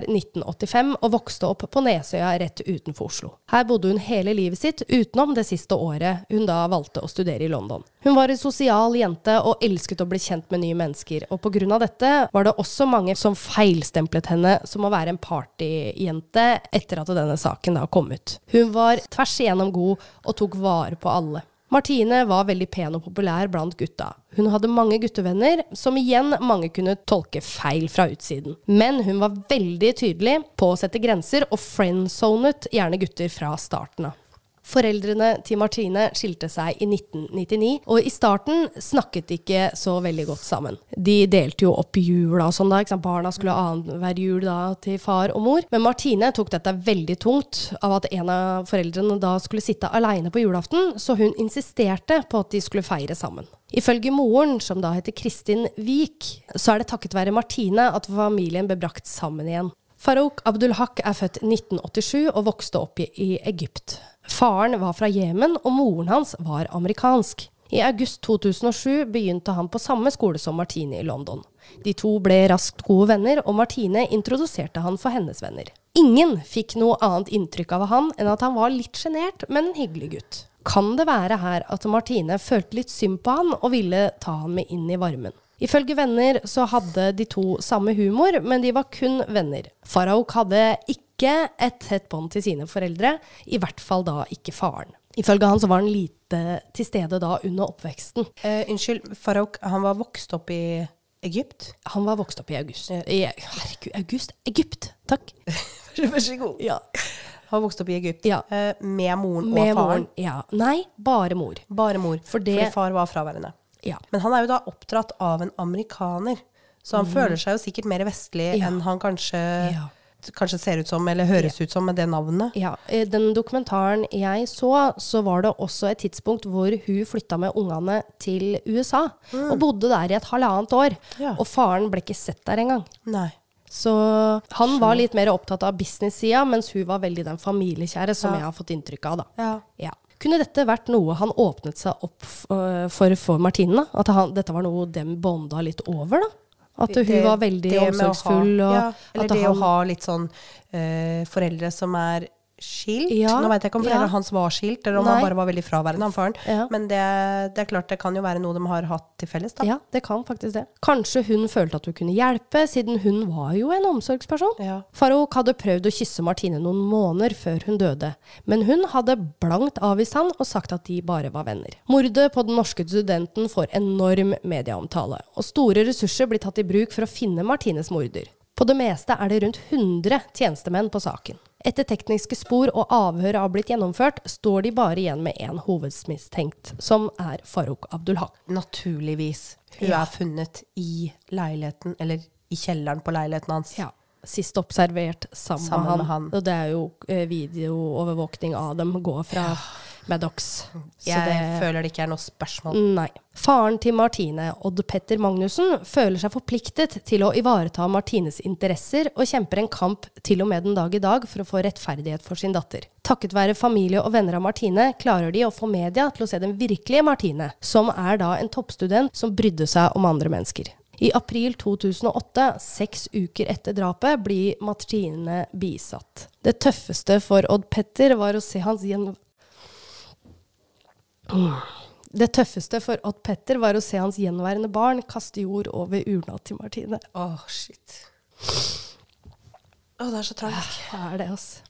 [SPEAKER 1] 6.2.1985 og vokste opp på Nesøya rett utenfor Oslo. Her bodde hun hele livet sitt utenom det siste året hun da valgte å studere i London. Hun var en sosial jente og elsket å bli kjent med nye mennesker, og pga. dette var det også mange som feilstemplet henne som å være en partyjente etter at denne saken da kom ut. Hun var tvers igjennom god og tok vare på alle. Martine var veldig pen og populær blant gutta. Hun hadde mange guttevenner, som igjen mange kunne tolke feil fra utsiden. Men hun var veldig tydelig på å sette grenser, og friendzonet gjerne gutter fra starten av. Foreldrene til Martine skilte seg i 1999, og i starten snakket de ikke så veldig godt sammen. De delte jo opp jula og sånn, da. Ikke sant? Barna skulle annenhver jul da til far og mor. Men Martine tok dette veldig tungt av at en av foreldrene da skulle sitte aleine på julaften, så hun insisterte på at de skulle feire sammen. Ifølge moren, som da heter Kristin Wiik, så er det takket være Martine at familien ble brakt sammen igjen. Farouk Abdul-Haq er født 1987 og vokste opp i- i Egypt. Faren var fra Jemen, og moren hans var amerikansk. I august 2007 begynte han på samme skole som Martine i London. De to ble raskt gode venner, og Martine introduserte han for hennes venner. Ingen fikk noe annet inntrykk av han enn at han var litt sjenert, men en hyggelig gutt. Kan det være her at Martine følte litt synd på han og ville ta han med inn i varmen? Ifølge venner så hadde de to samme humor, men de var kun venner. Faraok hadde ikke et tett bånd til sine foreldre, i hvert fall da ikke faren. Ifølge han så var han lite til stede da under oppveksten.
[SPEAKER 2] Eh, unnskyld, Farouk, han var vokst opp i Egypt?
[SPEAKER 1] Han var vokst opp i august. Eh, I, herregud, august? Egypt! Takk.
[SPEAKER 2] Vær så god.
[SPEAKER 1] Ja.
[SPEAKER 2] Han var vokst opp i Egypt
[SPEAKER 1] Ja.
[SPEAKER 2] eh, med moren og
[SPEAKER 1] Med
[SPEAKER 2] faren.
[SPEAKER 1] moren. Ja. Nei, bare mor.
[SPEAKER 2] Bare mor,
[SPEAKER 1] For det-
[SPEAKER 2] fordi far var fraværende.
[SPEAKER 1] Ja.
[SPEAKER 2] Men han er jo da oppdratt av en amerikaner, så han føler seg jo sikkert mer vestlig
[SPEAKER 1] Mm. Ja.
[SPEAKER 2] enn han kanskje,
[SPEAKER 1] Ja.
[SPEAKER 2] kanskje ser ut som, eller høres ut som med det navnet.
[SPEAKER 1] Ja, I den dokumentaren jeg så, så var det også et tidspunkt hvor hun flytta med ungene til USA. Og bodde der i et halvannet år.
[SPEAKER 2] Mm. Ja.
[SPEAKER 1] Og faren ble ikke sett der engang.
[SPEAKER 2] Nei.
[SPEAKER 1] Så han var litt mer opptatt av business-sida, mens hun var veldig den familiekjære som jeg har fått inntrykk av, da.
[SPEAKER 2] Ja.
[SPEAKER 1] Ja. Kunne dette vært noe han åpnet seg opp f- øh, for for Martine? da? At han, dette var noe dem bonda litt over, da? At hun
[SPEAKER 2] Det-
[SPEAKER 1] var veldig
[SPEAKER 2] det med å ha-
[SPEAKER 1] omsorgsfull? Og
[SPEAKER 2] ja, Eller
[SPEAKER 1] at
[SPEAKER 2] det
[SPEAKER 1] han,
[SPEAKER 2] å ha litt sånn eh, foreldre som er skilt.
[SPEAKER 1] Ja,
[SPEAKER 2] Nå veit jeg ikke om
[SPEAKER 1] ja.
[SPEAKER 2] foreldrene hans var skilt, eller om
[SPEAKER 1] Nei.
[SPEAKER 2] han bare var veldig fraværende, han faren.
[SPEAKER 1] Ja.
[SPEAKER 2] Men det, det er klart det kan jo være noe de har hatt til felles, da.
[SPEAKER 1] Ja, det kan faktisk det. Kanskje hun følte at hun kunne hjelpe, siden hun var jo en omsorgsperson.
[SPEAKER 2] Ja.
[SPEAKER 1] Farouk hadde prøvd å kysse Martine noen måneder før hun døde, men hun hadde blankt avvist han og sagt at de bare var venner. Mordet på den norske studenten får enorm medieomtale, og store ressurser blir tatt i bruk for å finne Martines morder. På det meste er det rundt 100 tjenestemenn på saken. Etter tekniske spor og avhør har blitt gjennomført, står de bare igjen med én hovedmistenkt, som er Farouk Abdulhaq.
[SPEAKER 2] Naturligvis. Hun
[SPEAKER 1] Ja.
[SPEAKER 2] er funnet i leiligheten, eller i kjelleren på leiligheten hans.
[SPEAKER 1] Ja. Sist observert sammen,
[SPEAKER 2] Sammen
[SPEAKER 1] med, han.
[SPEAKER 2] med han.
[SPEAKER 1] Og det er jo eh, videoovervåkning av dem går fra Maddox. Så
[SPEAKER 2] Jeg
[SPEAKER 1] det
[SPEAKER 2] føler det ikke er noe spørsmål.
[SPEAKER 1] Nei. Faren til Martine, Odd Petter Magnussen, føler seg forpliktet til å ivareta Martines interesser og kjemper en kamp til og med den dag i dag for å få rettferdighet for sin datter. Takket være familie og venner av Martine klarer de å få media til å se den virkelige Martine, som er da en toppstudent som brydde seg om andre mennesker. I april 2008, seks uker etter drapet, blir Martine bisatt. Det tøffeste for Odd Petter var å se hans gjen... Det tøffeste for Odd Petter var å se hans gjenværende barn kaste jord over urna til Martine.
[SPEAKER 2] Å, Mm. shit. Å, det er så trangt.
[SPEAKER 1] Hva er det, altså?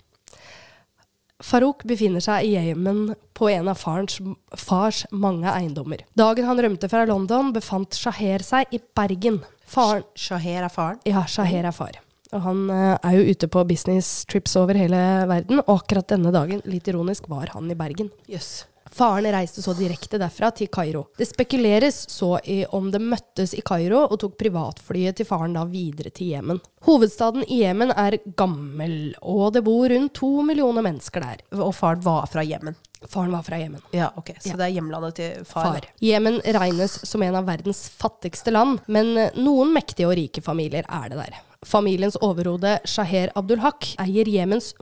[SPEAKER 1] Farouk befinner seg i Yemen på en av farens, fars mange eiendommer. Dagen han rømte fra London, befant Shaher seg i Bergen. Faren
[SPEAKER 2] Shaher er faren.
[SPEAKER 1] Ja, Shaher er far. Og han eh, er jo ute på business trips over hele verden, og akkurat denne dagen, litt ironisk, var han i Bergen.
[SPEAKER 2] Jøss.
[SPEAKER 1] Faren reiste så direkte derfra til Kairo. Det spekuleres så i om de møttes i Kairo og tok privatflyet til faren da videre til Jemen. Hovedstaden i Jemen er gammel, og det bor rundt to millioner mennesker der.
[SPEAKER 2] Og faren var fra Jemen.
[SPEAKER 1] Faren var fra Jemen.
[SPEAKER 2] Ja, ok. Så det er hjemlandet til far.
[SPEAKER 1] Far. Jemen regnes som en av verdens fattigste land, men eh, noen mektige og rike familier er det der. Familiens overhode Shaher Abdulhaq eier Jemens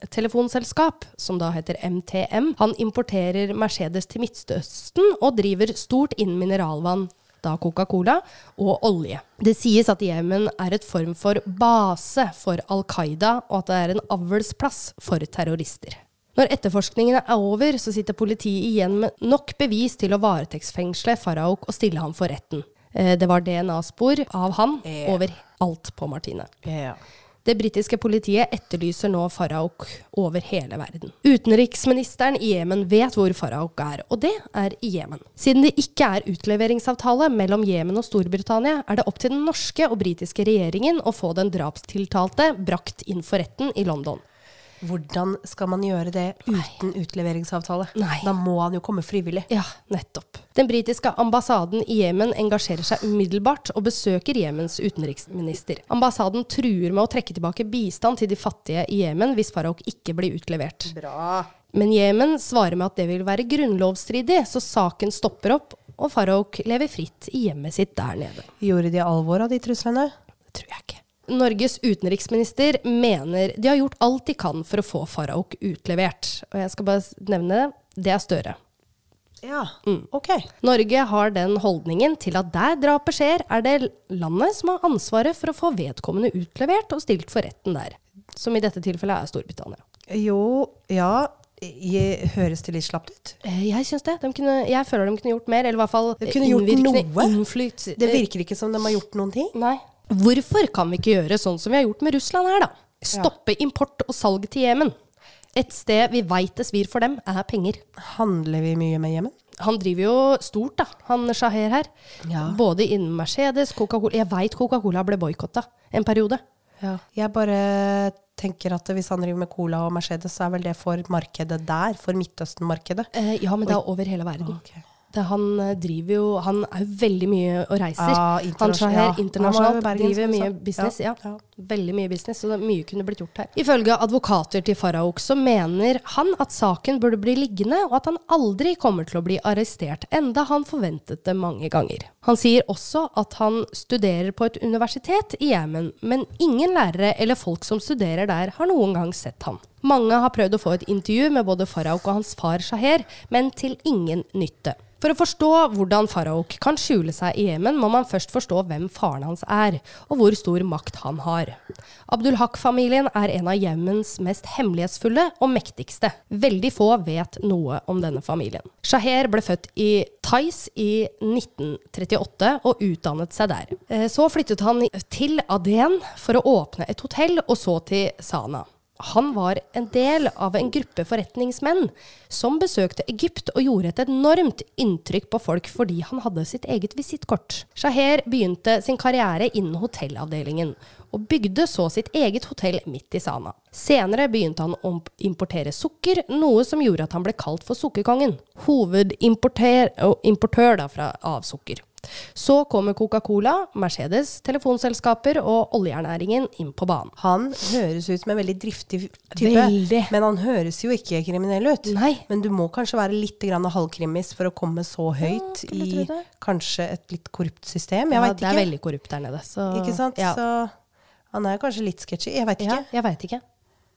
[SPEAKER 1] mobiltelefonselskap, som da heter MTM. Han importerer Mercedes til Midtøsten og driver stort inn mineralvann, da Coca-Cola, og olje. Det sies at Jemen er et form for base for Al Qaida, og at det er en avlsplass for terrorister. Når etterforskningen er over, så sitter politiet igjen med nok bevis til å varetektsfengsle Faraok og stille ham for retten. Eh, Det var DNA-spor av han
[SPEAKER 2] Ja.
[SPEAKER 1] over alt på Martine.
[SPEAKER 2] Ja.
[SPEAKER 1] Det britiske politiet etterlyser nå Faraok over hele verden. Utenriksministeren i Jemen vet hvor Faraok er, og det er i Jemen. Siden det ikke er utleveringsavtale mellom Jemen og Storbritannia, er det opp til den norske og britiske regjeringen å få den drapstiltalte brakt inn for retten i London.
[SPEAKER 2] Hvordan skal man gjøre det uten utleveringsavtale?
[SPEAKER 1] Nei.
[SPEAKER 2] Da må han jo komme frivillig.
[SPEAKER 1] Ja, nettopp. Den britiske ambassaden i Jemen engasjerer seg umiddelbart og besøker Jemens utenriksminister. Ambassaden truer med å trekke tilbake bistand til de fattige i Jemen hvis Farouk ikke blir utlevert.
[SPEAKER 2] Bra.
[SPEAKER 1] Men Jemen svarer med at det vil være grunnlovsstridig, så saken stopper opp, og Farouk lever fritt i hjemmet sitt der nede.
[SPEAKER 2] Gjorde de alvor av de truslene?
[SPEAKER 1] Det tror jeg ikke. Norges utenriksminister mener de har gjort alt de kan for å få Farouk utlevert. Og jeg skal bare s- nevne det. Det er Støre.
[SPEAKER 2] Ja. Ok.
[SPEAKER 1] Norge har den holdningen til at der drapet skjer, er det landet som har ansvaret for å få vedkommende utlevert og stilt for retten der. Som i dette tilfellet er Storbritannia.
[SPEAKER 2] Jo, ja. Jeg, høres det litt slapt ut?
[SPEAKER 1] Eh, Jeg syns det. De kunne, jeg føler de kunne gjort mer, eller i hvert fall eh,
[SPEAKER 2] De kunne gjort
[SPEAKER 1] innvirkende
[SPEAKER 2] noe.
[SPEAKER 1] Innflyt, eh,
[SPEAKER 2] Det virker ikke som de har gjort noen ting.
[SPEAKER 1] Nei. Hvorfor kan vi ikke gjøre sånn som vi har gjort med Russland her, da? Stoppe import og salg til Jemen. Et sted vi veit det svir for dem, er penger.
[SPEAKER 2] Handler vi mye med Jemen?
[SPEAKER 1] Han driver jo stort, da, han Shaher her.
[SPEAKER 2] Ja.
[SPEAKER 1] Både innen Mercedes, Coca-Cola Jeg veit Coca-Cola ble boikotta en periode.
[SPEAKER 2] Jeg bare tenker at hvis han driver med Cola og Mercedes, så er vel det for markedet der, for Midtøsten-markedet.
[SPEAKER 1] Eh, ja, men det er over hele verden.
[SPEAKER 2] Ok.
[SPEAKER 1] Det, han eh, driver jo Han er jo veldig mye og reiser.
[SPEAKER 2] Ja,
[SPEAKER 1] han
[SPEAKER 2] internasjonal- ja.
[SPEAKER 1] Shaher internasjonalt
[SPEAKER 2] Han var jo i Bergen,
[SPEAKER 1] driver
[SPEAKER 2] som du
[SPEAKER 1] mye
[SPEAKER 2] sa.
[SPEAKER 1] business. Ja.
[SPEAKER 2] Ja, ja.
[SPEAKER 1] Veldig mye business, så det, mye kunne blitt gjort her. Ifølge advokater til Faraok så mener han at saken burde bli liggende, og at han aldri kommer til å bli arrestert, enda han forventet det mange ganger. Han sier også at han studerer på et universitet i Jemen, men ingen lærere eller folk som studerer der, har noen gang sett ham. Mange har prøvd å få et intervju med både Faraok og hans far Shaher, men til ingen nytte. For å forstå hvordan Faraok kan skjule seg i Jemen, må man først forstå hvem faren hans er, og hvor stor makt han har. Abdulhaq-familien er en av Jemens mest hemmelighetsfulle og mektigste. Veldig få vet noe om denne familien. Shaher ble født i Thais i 1938 og utdannet seg der. Eh, Så flyttet han til Aden for å åpne et hotell, og så til Sana. Han var en del av en gruppe forretningsmenn som besøkte Egypt og gjorde et enormt inntrykk på folk fordi han hadde sitt eget visittkort. Shaher begynte sin karriere innen hotellavdelingen, og bygde så sitt eget hotell midt i Sana. Senere begynte han å importere sukker, noe som gjorde at han ble kalt for Sukkerkongen. Hovedimportør og importør da fra, av sukker. Så kommer Coca-Cola, Mercedes, telefonselskaper og oljernæringen inn på banen.
[SPEAKER 2] Han høres ut som en veldig driftig type,
[SPEAKER 1] Veldig.
[SPEAKER 2] men han høres jo ikke kriminell ut.
[SPEAKER 1] Nei.
[SPEAKER 2] Men du må kanskje være litt grann halvkrimis for å komme så høyt
[SPEAKER 1] skulle
[SPEAKER 2] i
[SPEAKER 1] tro det.
[SPEAKER 2] kanskje et litt korrupt system. Jeg
[SPEAKER 1] ja,
[SPEAKER 2] veit
[SPEAKER 1] Det er
[SPEAKER 2] ikke.
[SPEAKER 1] veldig korrupt der nede. Så,
[SPEAKER 2] Ikke sant?
[SPEAKER 1] Ja,
[SPEAKER 2] Så han er kanskje litt sketchy. Jeg veit
[SPEAKER 1] ja,
[SPEAKER 2] ikke.
[SPEAKER 1] jeg veit ikke.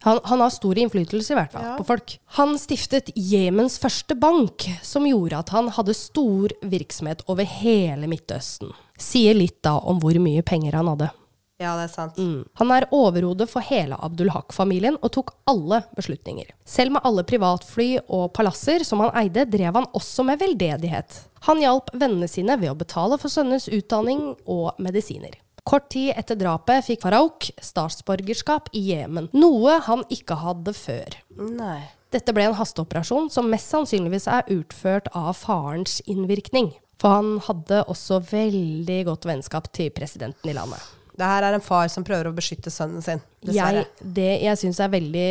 [SPEAKER 1] Han, han har stor innflytelse i hvert fall
[SPEAKER 2] Ja.
[SPEAKER 1] på folk. Han stiftet Jemens første bank, som gjorde at han hadde stor virksomhet over hele Midtøsten. sier litt da om hvor mye penger han hadde.
[SPEAKER 2] Ja, det er sant.
[SPEAKER 1] Han er overhodet for hele Abdul Haq-familien og tok alle beslutninger. Selv med alle privatfly og palasser som han eide, drev han også med veldedighet. Han hjalp vennene sine ved å betale for sønnenes utdanning og medisiner. Kort tid etter drapet fikk Farouk statsborgerskap i Jemen, noe han ikke hadde før.
[SPEAKER 2] Nei.
[SPEAKER 1] Dette ble en hasteoperasjon som mest sannsynligvis er utført av farens innvirkning. For han hadde også veldig godt vennskap til presidenten i landet.
[SPEAKER 2] Det her er en far som prøver å beskytte sønnen sin, dessverre.
[SPEAKER 1] Jeg, det jeg syns er veldig,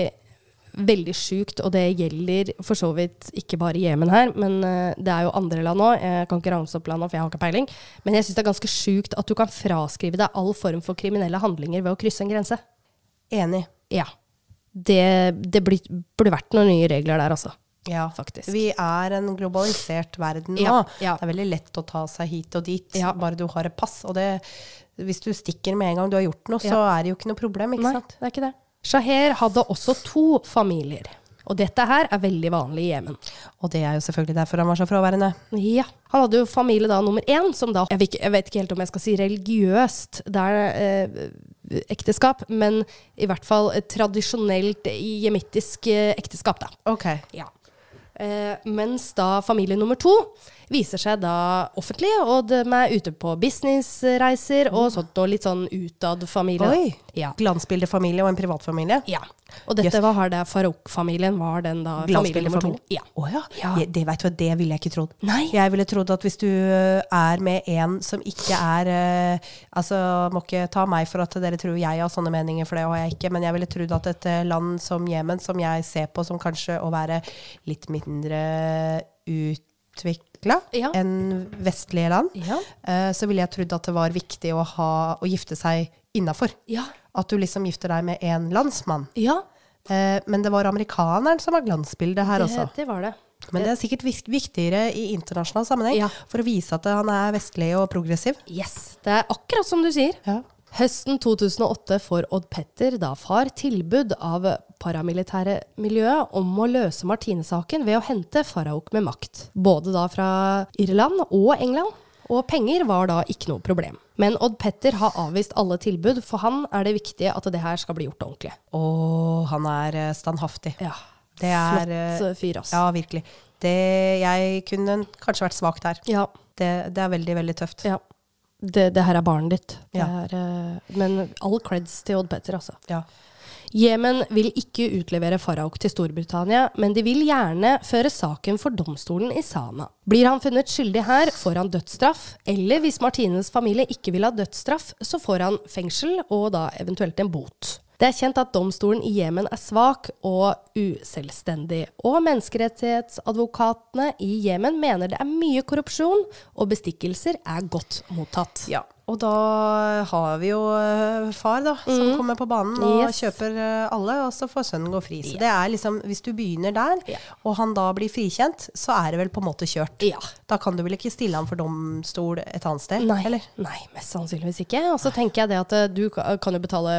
[SPEAKER 1] veldig sjukt, og det gjelder for så vidt ikke bare Jemen her, men eh, det er jo andre land òg. Jeg kan ikke ramse opp landene, for jeg har ikke peiling. Men jeg syns det er ganske sjukt at du kan fraskrive deg all form for kriminelle handlinger ved å krysse en grense.
[SPEAKER 2] Enig.
[SPEAKER 1] Ja. Det, det blir- burde vært noen nye regler der, altså.
[SPEAKER 2] Ja,
[SPEAKER 1] Faktisk.
[SPEAKER 2] Vi er en globalisert verden nå.
[SPEAKER 1] Ja, ja.
[SPEAKER 2] Det er veldig lett å ta seg hit og dit,
[SPEAKER 1] Ja.
[SPEAKER 2] bare du har et pass. Og det, hvis du stikker med en gang du har gjort noe, så er det jo ikke noe problem, ikke sant?
[SPEAKER 1] det er ikke det. Shaher hadde også to familier. Og dette her er veldig vanlig i Jemen.
[SPEAKER 2] Og det er jo selvfølgelig derfor han var så fraværende.
[SPEAKER 1] Ja. Han hadde jo familie da nummer én, som da Jeg, vil ikke, jeg vet ikke helt om jeg skal si religiøst det er eh, ekteskap, men i hvert fall et tradisjonelt jemittisk eh, ekteskap, da.
[SPEAKER 2] Ok.
[SPEAKER 1] Ja. Eh, mens da familie nummer to viser seg da offentlig, og de er ute på businessreiser og sånt, og litt sånn utad familie. da.
[SPEAKER 2] Mm. Oi.
[SPEAKER 1] Ja.
[SPEAKER 2] Glansbildefamilie og en privatfamilie.
[SPEAKER 1] Ja. Og dette
[SPEAKER 2] Yes.
[SPEAKER 1] var har det Farouk-familien var den da familie nummer to.
[SPEAKER 2] Glansbildefamilie.
[SPEAKER 1] Ja.
[SPEAKER 2] Å ja.
[SPEAKER 1] Ja.
[SPEAKER 2] Jeg- Det, vet du, hva, det ville jeg ikke trodd.
[SPEAKER 1] Nei.
[SPEAKER 2] Jeg ville trodd at hvis du ø, er med en som ikke er ø, Altså, må ikke ta meg for at dere tror jeg har sånne meninger, for det har jeg ikke. Men jeg ville trodd at et ø, land som Jemen, som jeg ser på som kanskje å være litt mindre utvikla
[SPEAKER 1] Ja.
[SPEAKER 2] enn vestlige land,
[SPEAKER 1] Ja.
[SPEAKER 2] ø, så ville jeg trodd at det var viktig å, ha, å gifte seg innafor.
[SPEAKER 1] Ja.
[SPEAKER 2] At du liksom gifter deg med en landsmann.
[SPEAKER 1] Ja,
[SPEAKER 2] Eh, Men det var amerikaneren som var glansbildet her også.
[SPEAKER 1] Eh, det, det var det.
[SPEAKER 2] Men det er sikkert vis- viktigere i internasjonal sammenheng
[SPEAKER 1] Ja.
[SPEAKER 2] for å vise at han er vestlig og progressiv.
[SPEAKER 1] Yes. Det er akkurat som du sier.
[SPEAKER 2] Ja.
[SPEAKER 1] Høsten 2008 får Odd Petter, da far, tilbud av paramilitære miljøet om å løse Martine-saken ved å hente Farouk med makt. Både da fra Irland og England. Og penger var da ikke noe problem. Men Odd Petter har avvist alle tilbud. For han er det viktig at det her skal bli gjort ordentlig.
[SPEAKER 2] Og han er eh, standhaftig.
[SPEAKER 1] Ja.
[SPEAKER 2] Det er eh,
[SPEAKER 1] Flott eh, fyr, altså.
[SPEAKER 2] Ja, virkelig. Det, jeg kunne kanskje vært svak der.
[SPEAKER 1] ja.
[SPEAKER 2] Det, det er veldig, veldig tøft.
[SPEAKER 1] Ja. Det, det her er barnet ditt. Det
[SPEAKER 2] Ja.
[SPEAKER 1] er, eh, men all creds til Odd Petter, altså.
[SPEAKER 2] Ja.
[SPEAKER 1] Jemen vil ikke utlevere Farouk til Storbritannia, men de vil gjerne føre saken for domstolen i Sana. Blir han funnet skyldig her, får han dødsstraff, eller hvis Martines familie ikke vil ha dødsstraff, så får han fengsel og da eventuelt en bot. Det er kjent at domstolen i Jemen er svak og uselvstendig, og menneskerettighetsadvokatene i Jemen mener det er mye korrupsjon, og bestikkelser er godt mottatt.
[SPEAKER 2] Ja. Og da har vi jo eh, far, da, som kommer på banen og
[SPEAKER 1] Mhm. Yes.
[SPEAKER 2] kjøper eh, alle, og så får sønnen gå fri. Så det er liksom, hvis du begynner der, og han da blir frikjent, så er det vel på en måte kjørt.
[SPEAKER 1] Ja.
[SPEAKER 2] Da kan du vel ikke stille han for domstol et annet sted?
[SPEAKER 1] Nei,
[SPEAKER 2] Eller?
[SPEAKER 1] nei, mest sannsynligvis ikke. Og så tenker jeg det at eh, du ka- kan jo betale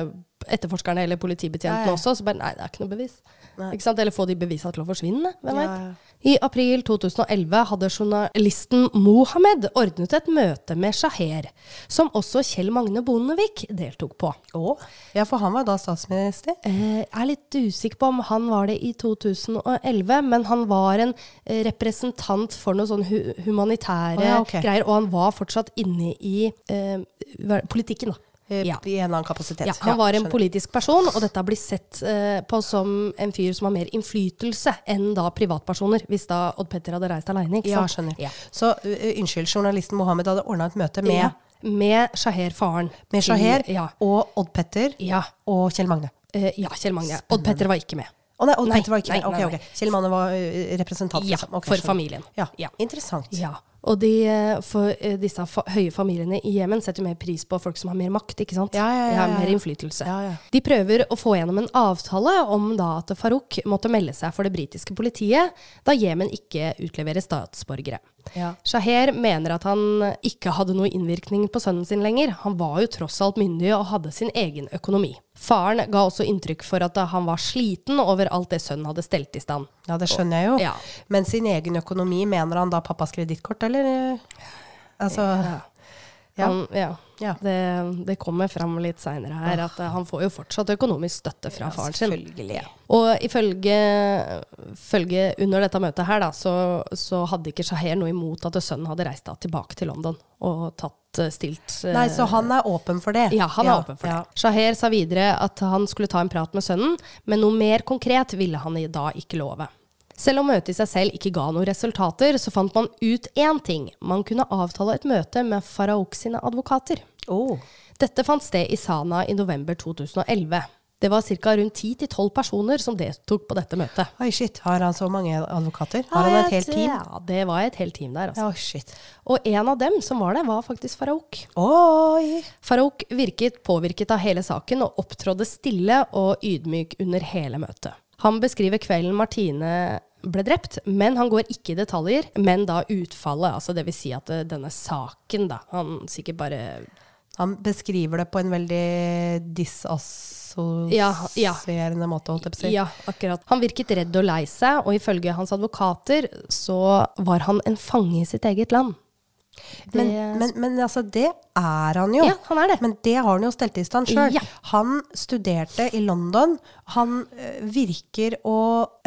[SPEAKER 1] etterforskerne eller politibetjentene
[SPEAKER 2] Ja, ja.
[SPEAKER 1] også, så bare nei, det er ikke noe bevis.
[SPEAKER 2] Nei.
[SPEAKER 1] Ikke sant? Eller få de bevisene til å forsvinne, hvem
[SPEAKER 2] Ja,
[SPEAKER 1] vet. I april 2011 hadde journalisten Mohammed ordnet et møte med Shaher, som også Kjell Magne Bondevik deltok på.
[SPEAKER 2] Å? Ja, for han var da statsminister.
[SPEAKER 1] Eh, Jeg er litt usikker på om han var det i 2011, men han var en eh, representant for noen sånne hu humanitære
[SPEAKER 2] Å ja, ok.
[SPEAKER 1] greier, og han var fortsatt inne i eh, hva- politikken, da.
[SPEAKER 2] eh,
[SPEAKER 1] Ja.
[SPEAKER 2] I en eller annen kapasitet.
[SPEAKER 1] Ja, han var en
[SPEAKER 2] skjønner.
[SPEAKER 1] politisk person, og dette blir sett eh, på som en fyr som har mer innflytelse enn da privatpersoner, hvis da Odd Petter hadde reist aleine.
[SPEAKER 2] Ja, skjønner. Så eh, unnskyld, journalisten Mohammed hadde ordna et møte med,
[SPEAKER 1] Med, med Shaher, faren.
[SPEAKER 2] med Shaher
[SPEAKER 1] Til- Ja.
[SPEAKER 2] og Odd Petter
[SPEAKER 1] Ja,
[SPEAKER 2] og Kjell Magne.
[SPEAKER 1] eh, ja Kjell Magne. Odd Petter var ikke med.
[SPEAKER 2] Å nei, Odd
[SPEAKER 1] Nei,
[SPEAKER 2] Petter var ikke
[SPEAKER 1] nei,
[SPEAKER 2] med. Ok,
[SPEAKER 1] nei,
[SPEAKER 2] ok.
[SPEAKER 1] nei.
[SPEAKER 2] Kjell Magne var eh, representant.
[SPEAKER 1] Ja,
[SPEAKER 2] liksom. Ok,
[SPEAKER 1] for
[SPEAKER 2] skjønner.
[SPEAKER 1] familien.
[SPEAKER 2] Ja,
[SPEAKER 1] Ja.
[SPEAKER 2] Interessant.
[SPEAKER 1] Ja, og de, eh, for eh, disse fa høye familiene i Jemen setter mer pris på folk som har mer makt, ikke sant?
[SPEAKER 2] Ja, ja, ja,
[SPEAKER 1] De har
[SPEAKER 2] ja,
[SPEAKER 1] mer
[SPEAKER 2] ja.
[SPEAKER 1] innflytelse.
[SPEAKER 2] Ja, ja.
[SPEAKER 1] De prøver å få gjennom en avtale om da at Farouk måtte melde seg for det britiske politiet, da Jemen ikke utleverer statsborgere.
[SPEAKER 2] Ja.
[SPEAKER 1] Shaher mener at han ikke hadde noe innvirkning på sønnen sin lenger. Han var jo tross alt myndig og hadde sin egen økonomi. Faren ga også inntrykk for at han var sliten over alt det sønnen hadde stelt i stand.
[SPEAKER 2] Ja, det skjønner jeg jo.
[SPEAKER 1] Ja.
[SPEAKER 2] Men sin egen økonomi, mener han da pappas kredittkort, eller? eh, Altså, ja. Ja.
[SPEAKER 1] Han, ja.
[SPEAKER 2] Ja.
[SPEAKER 1] Det, det kommer fram litt seinere
[SPEAKER 2] Ah.
[SPEAKER 1] her at eh, han får jo fortsatt økonomisk støtte fra faren sin.
[SPEAKER 2] Selvfølgelig.
[SPEAKER 1] Og ifølge følge under dette møtet her, da, så, så hadde ikke Shaher noe imot at sønnen hadde reist da tilbake til London og tatt eh, stilt eh,
[SPEAKER 2] Nei, så han er åpen for det.
[SPEAKER 1] ja, han er åpen for det.
[SPEAKER 2] ja.
[SPEAKER 1] Shaher sa videre at han skulle ta en prat med sønnen, men noe mer konkret ville han i da ikke love. Selv om møtet i seg selv ikke ga noen resultater, så fant man ut én ting. Man kunne avtale et møte med Faraok sine advokater.
[SPEAKER 2] Å.
[SPEAKER 1] Dette fant sted i Sana i november 2011. Det var ca. rundt 10-12 personer som deltok på dette møtet.
[SPEAKER 2] Oi, shit. Har han så mange advokater? Har han et helt team?
[SPEAKER 1] Ja, det var et helt team der. Altså.
[SPEAKER 2] Ja, shit.
[SPEAKER 1] Og en av dem som var der, var faktisk Faraok.
[SPEAKER 2] Oi!
[SPEAKER 1] Farouk virket påvirket av hele saken og opptrådde stille og ydmyk under hele møtet. Han beskriver kvelden Martine ble drept, men han går ikke i detaljer, men da utfallet, altså det vil si at eh, denne saken da, han sikkert bare
[SPEAKER 2] Han beskriver det på en veldig
[SPEAKER 1] Ja, ja.
[SPEAKER 2] disassosierende måte, holdt jeg på å si.
[SPEAKER 1] Ja, akkurat. Han virket redd og lei seg, og ifølge hans advokater så var han en fange i sitt eget land.
[SPEAKER 2] Men,
[SPEAKER 1] Det-
[SPEAKER 2] men, men altså, det er han jo.
[SPEAKER 1] Ja, han er det.
[SPEAKER 2] Men det har han jo stelt i stand sjøl.
[SPEAKER 1] Ja.
[SPEAKER 2] Han studerte i London. Han eh, virker å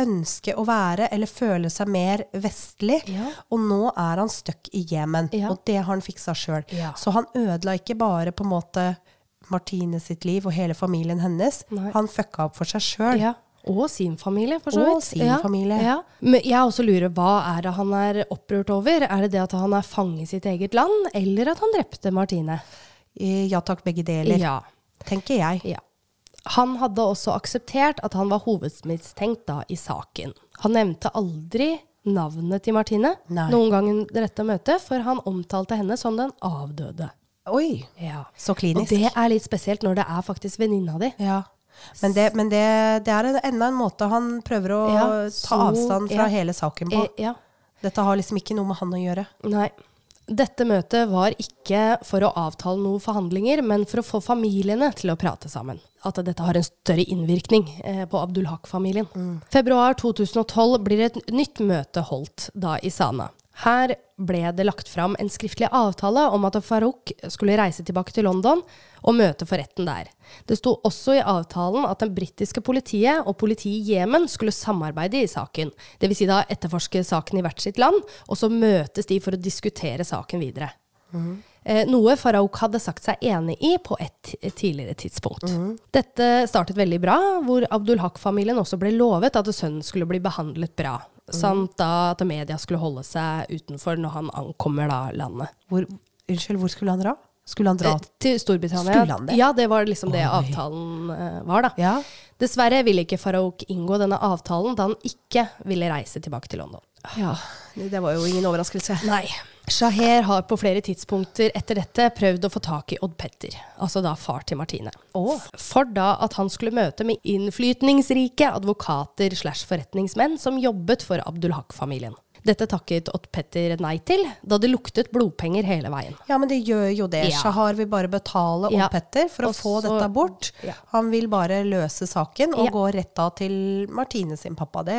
[SPEAKER 2] ønske å være, eller føle seg mer vestlig.
[SPEAKER 1] Ja.
[SPEAKER 2] Og nå er han stuck i Jemen,
[SPEAKER 1] Ja.
[SPEAKER 2] og det har han fiksa sjøl.
[SPEAKER 1] Ja.
[SPEAKER 2] Så han ødela ikke bare på en måte Martine sitt liv og hele familien hennes.
[SPEAKER 1] Nei.
[SPEAKER 2] Han fucka opp for seg sjøl.
[SPEAKER 1] Ja. Og sin familie, for så vidt.
[SPEAKER 2] Og sin familie.
[SPEAKER 1] Ja. Men jeg også lurer, hva er det han er opprørt over? Er det det at han er fange i sitt eget land, eller at han drepte Martine?
[SPEAKER 2] Ja takk, begge deler,
[SPEAKER 1] Ja.
[SPEAKER 2] tenker jeg.
[SPEAKER 1] ja. Han hadde også akseptert at han var hovedmistenkt da i saken. Han nevnte aldri navnet til Martine
[SPEAKER 2] Nei.
[SPEAKER 1] noen gang under dette møtet, for han omtalte henne som den avdøde.
[SPEAKER 2] Oi!
[SPEAKER 1] Ja.
[SPEAKER 2] Så klinisk.
[SPEAKER 1] Og det er litt spesielt når det er faktisk venninna di.
[SPEAKER 2] Ja. Men, det, men det, det er en, enda en måte han prøver å
[SPEAKER 1] Ja,
[SPEAKER 2] ta
[SPEAKER 1] så-
[SPEAKER 2] avstand fra
[SPEAKER 1] ja.
[SPEAKER 2] hele saken på.
[SPEAKER 1] Eh, ja.
[SPEAKER 2] Dette har liksom ikke noe med han å gjøre.
[SPEAKER 1] Nei. Dette møtet var ikke for å avtale noen forhandlinger, men for å få familiene til å prate sammen. At dette har en større innvirkning eh, på Abdulhak-familien. Februar 2012 blir et nytt møte holdt da i Sana. Her ble det lagt fram en skriftlig avtale om at Farouk skulle reise tilbake til London og møte for retten der. Det sto også i avtalen at den britiske politiet og politiet i Jemen skulle samarbeide i saken. Dvs. Si da etterforske saken i hvert sitt land, og så møtes de for å diskutere saken videre. Eh, Noe Farouk hadde sagt seg enig i på et et tidligere tidspunkt.
[SPEAKER 2] Mhm.
[SPEAKER 1] Dette startet veldig bra, hvor Abdulhak-familien også ble lovet at sønnen skulle bli behandlet bra.
[SPEAKER 2] Mhm.
[SPEAKER 1] Samt da at media skulle holde seg utenfor når han ankommer da landet.
[SPEAKER 2] Hvor, unnskyld, hvor skulle han dra? Skulle han dra
[SPEAKER 1] Eh, Til Storbritannia.
[SPEAKER 2] Skulle han det?
[SPEAKER 1] Ja, det var liksom det avtalen eh, var, da.
[SPEAKER 2] Ja.
[SPEAKER 1] Dessverre ville ikke Farouk inngå denne avtalen da han ikke ville reise tilbake til London.
[SPEAKER 2] ja. Det var jo ingen overraskelse.
[SPEAKER 1] Nei. Shaher har på flere tidspunkter etter dette prøvd å få tak i Odd Petter, altså da far til Martine.
[SPEAKER 2] Å.
[SPEAKER 1] For da at han skulle møte med innflytningsrike advokater slash forretningsmenn som jobbet for Abdulhak-familien. Dette takket Odd Petter nei til, da det luktet blodpenger hele veien.
[SPEAKER 2] Ja, men det gjør jo det.
[SPEAKER 1] Ja.
[SPEAKER 2] Shahar vil bare betale Odd
[SPEAKER 1] Ja.
[SPEAKER 2] Petter for å
[SPEAKER 1] Og
[SPEAKER 2] få
[SPEAKER 1] så-
[SPEAKER 2] dette bort.
[SPEAKER 1] Ja.
[SPEAKER 2] Han vil bare løse saken og
[SPEAKER 1] Ja.
[SPEAKER 2] gå rett da til Martine sin pappa. Det,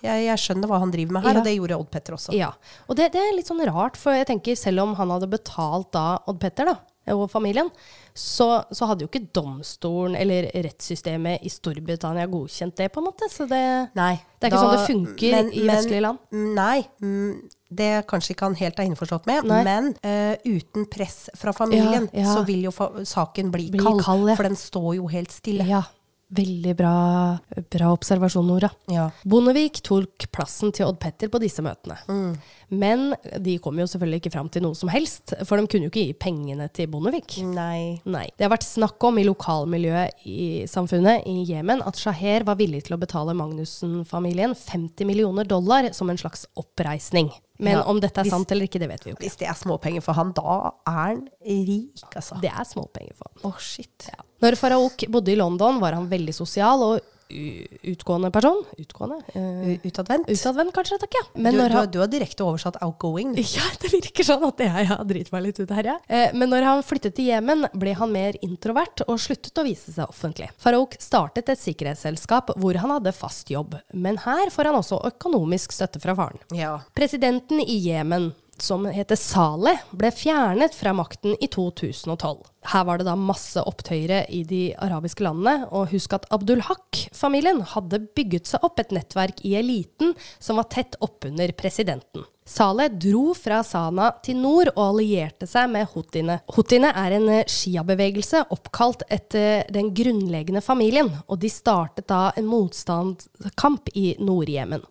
[SPEAKER 2] jeg, jeg skjønner hva han driver med her,
[SPEAKER 1] Ja.
[SPEAKER 2] og det gjorde Odd Petter også.
[SPEAKER 1] Ja, og det, det er litt sånn rart, for jeg tenker selv om han hadde betalt da Odd Petter da, og familien, så, så hadde jo ikke domstolen eller rettssystemet i Storbritannia godkjent det, på en måte. Så det,
[SPEAKER 2] Nei.
[SPEAKER 1] det er ikke sånn det funker i vestlige land.
[SPEAKER 2] Nei. mm, Det kanskje ikke han helt er innforstått med,
[SPEAKER 1] Nei.
[SPEAKER 2] men eh, uten press fra familien,
[SPEAKER 1] Ja, ja.
[SPEAKER 2] så vil jo fa saken bli,
[SPEAKER 1] Bli
[SPEAKER 2] kald.
[SPEAKER 1] kald, ja.
[SPEAKER 2] For den står jo helt stille.
[SPEAKER 1] Ja, veldig bra, bra observasjon, Nora.
[SPEAKER 2] Ja.
[SPEAKER 1] Bondevik tok plassen til Odd Petter på disse møtene.
[SPEAKER 2] Mm.
[SPEAKER 1] Men de kom jo selvfølgelig ikke fram til noe som helst, for de kunne jo ikke gi pengene til Bondevik.
[SPEAKER 2] Mm. Nei.
[SPEAKER 1] Nei. Det har vært snakk om i lokalmiljøet i samfunnet i Jemen at Shaher var villig til å betale Magnussen-familien 50 millioner dollar som en slags oppreisning. Men
[SPEAKER 2] Ja,
[SPEAKER 1] om dette
[SPEAKER 2] hvis-
[SPEAKER 1] er sant eller ikke, det vet vi jo ikke.
[SPEAKER 2] Hvis det er småpenger for han, da er han rik, altså. Å,
[SPEAKER 1] Det er småpenger for ham.
[SPEAKER 2] shit.
[SPEAKER 1] Ja. Når Faraok bodde i London, var han veldig sosial og u- utgående person. Utgående? Eh,
[SPEAKER 2] U- Utadvendt.
[SPEAKER 1] Utadvendt, kanskje, takk, ja.
[SPEAKER 2] Du,
[SPEAKER 1] Men
[SPEAKER 2] du,
[SPEAKER 1] når
[SPEAKER 2] har-
[SPEAKER 1] han
[SPEAKER 2] du har direkte oversatt 'outgoing'.
[SPEAKER 1] ja, det virker sånn at jeg, jeg driter meg litt ut her, jeg. Eh, men når han flyttet til Jemen, ble han mer introvert og sluttet å vise seg offentlig. Farouk startet et sikkerhetsselskap hvor han hadde fast jobb, men her får han også økonomisk støtte fra faren.
[SPEAKER 2] Ja.
[SPEAKER 1] Presidenten i Jemen, som heter Saleh, ble fjernet fra makten i 2012. Her var det da masse opptøyere i de arabiske landene, og husk at Abdul Haq-familien hadde bygget seg opp et nettverk i eliten som var tett oppunder presidenten. Saleh dro fra Sana til nord og allierte seg med houthiene. Houthiene er en eh, shia-bevegelse oppkalt etter eh, den grunnleggende familien, og de startet da en motstandskamp i Nord-Jemen.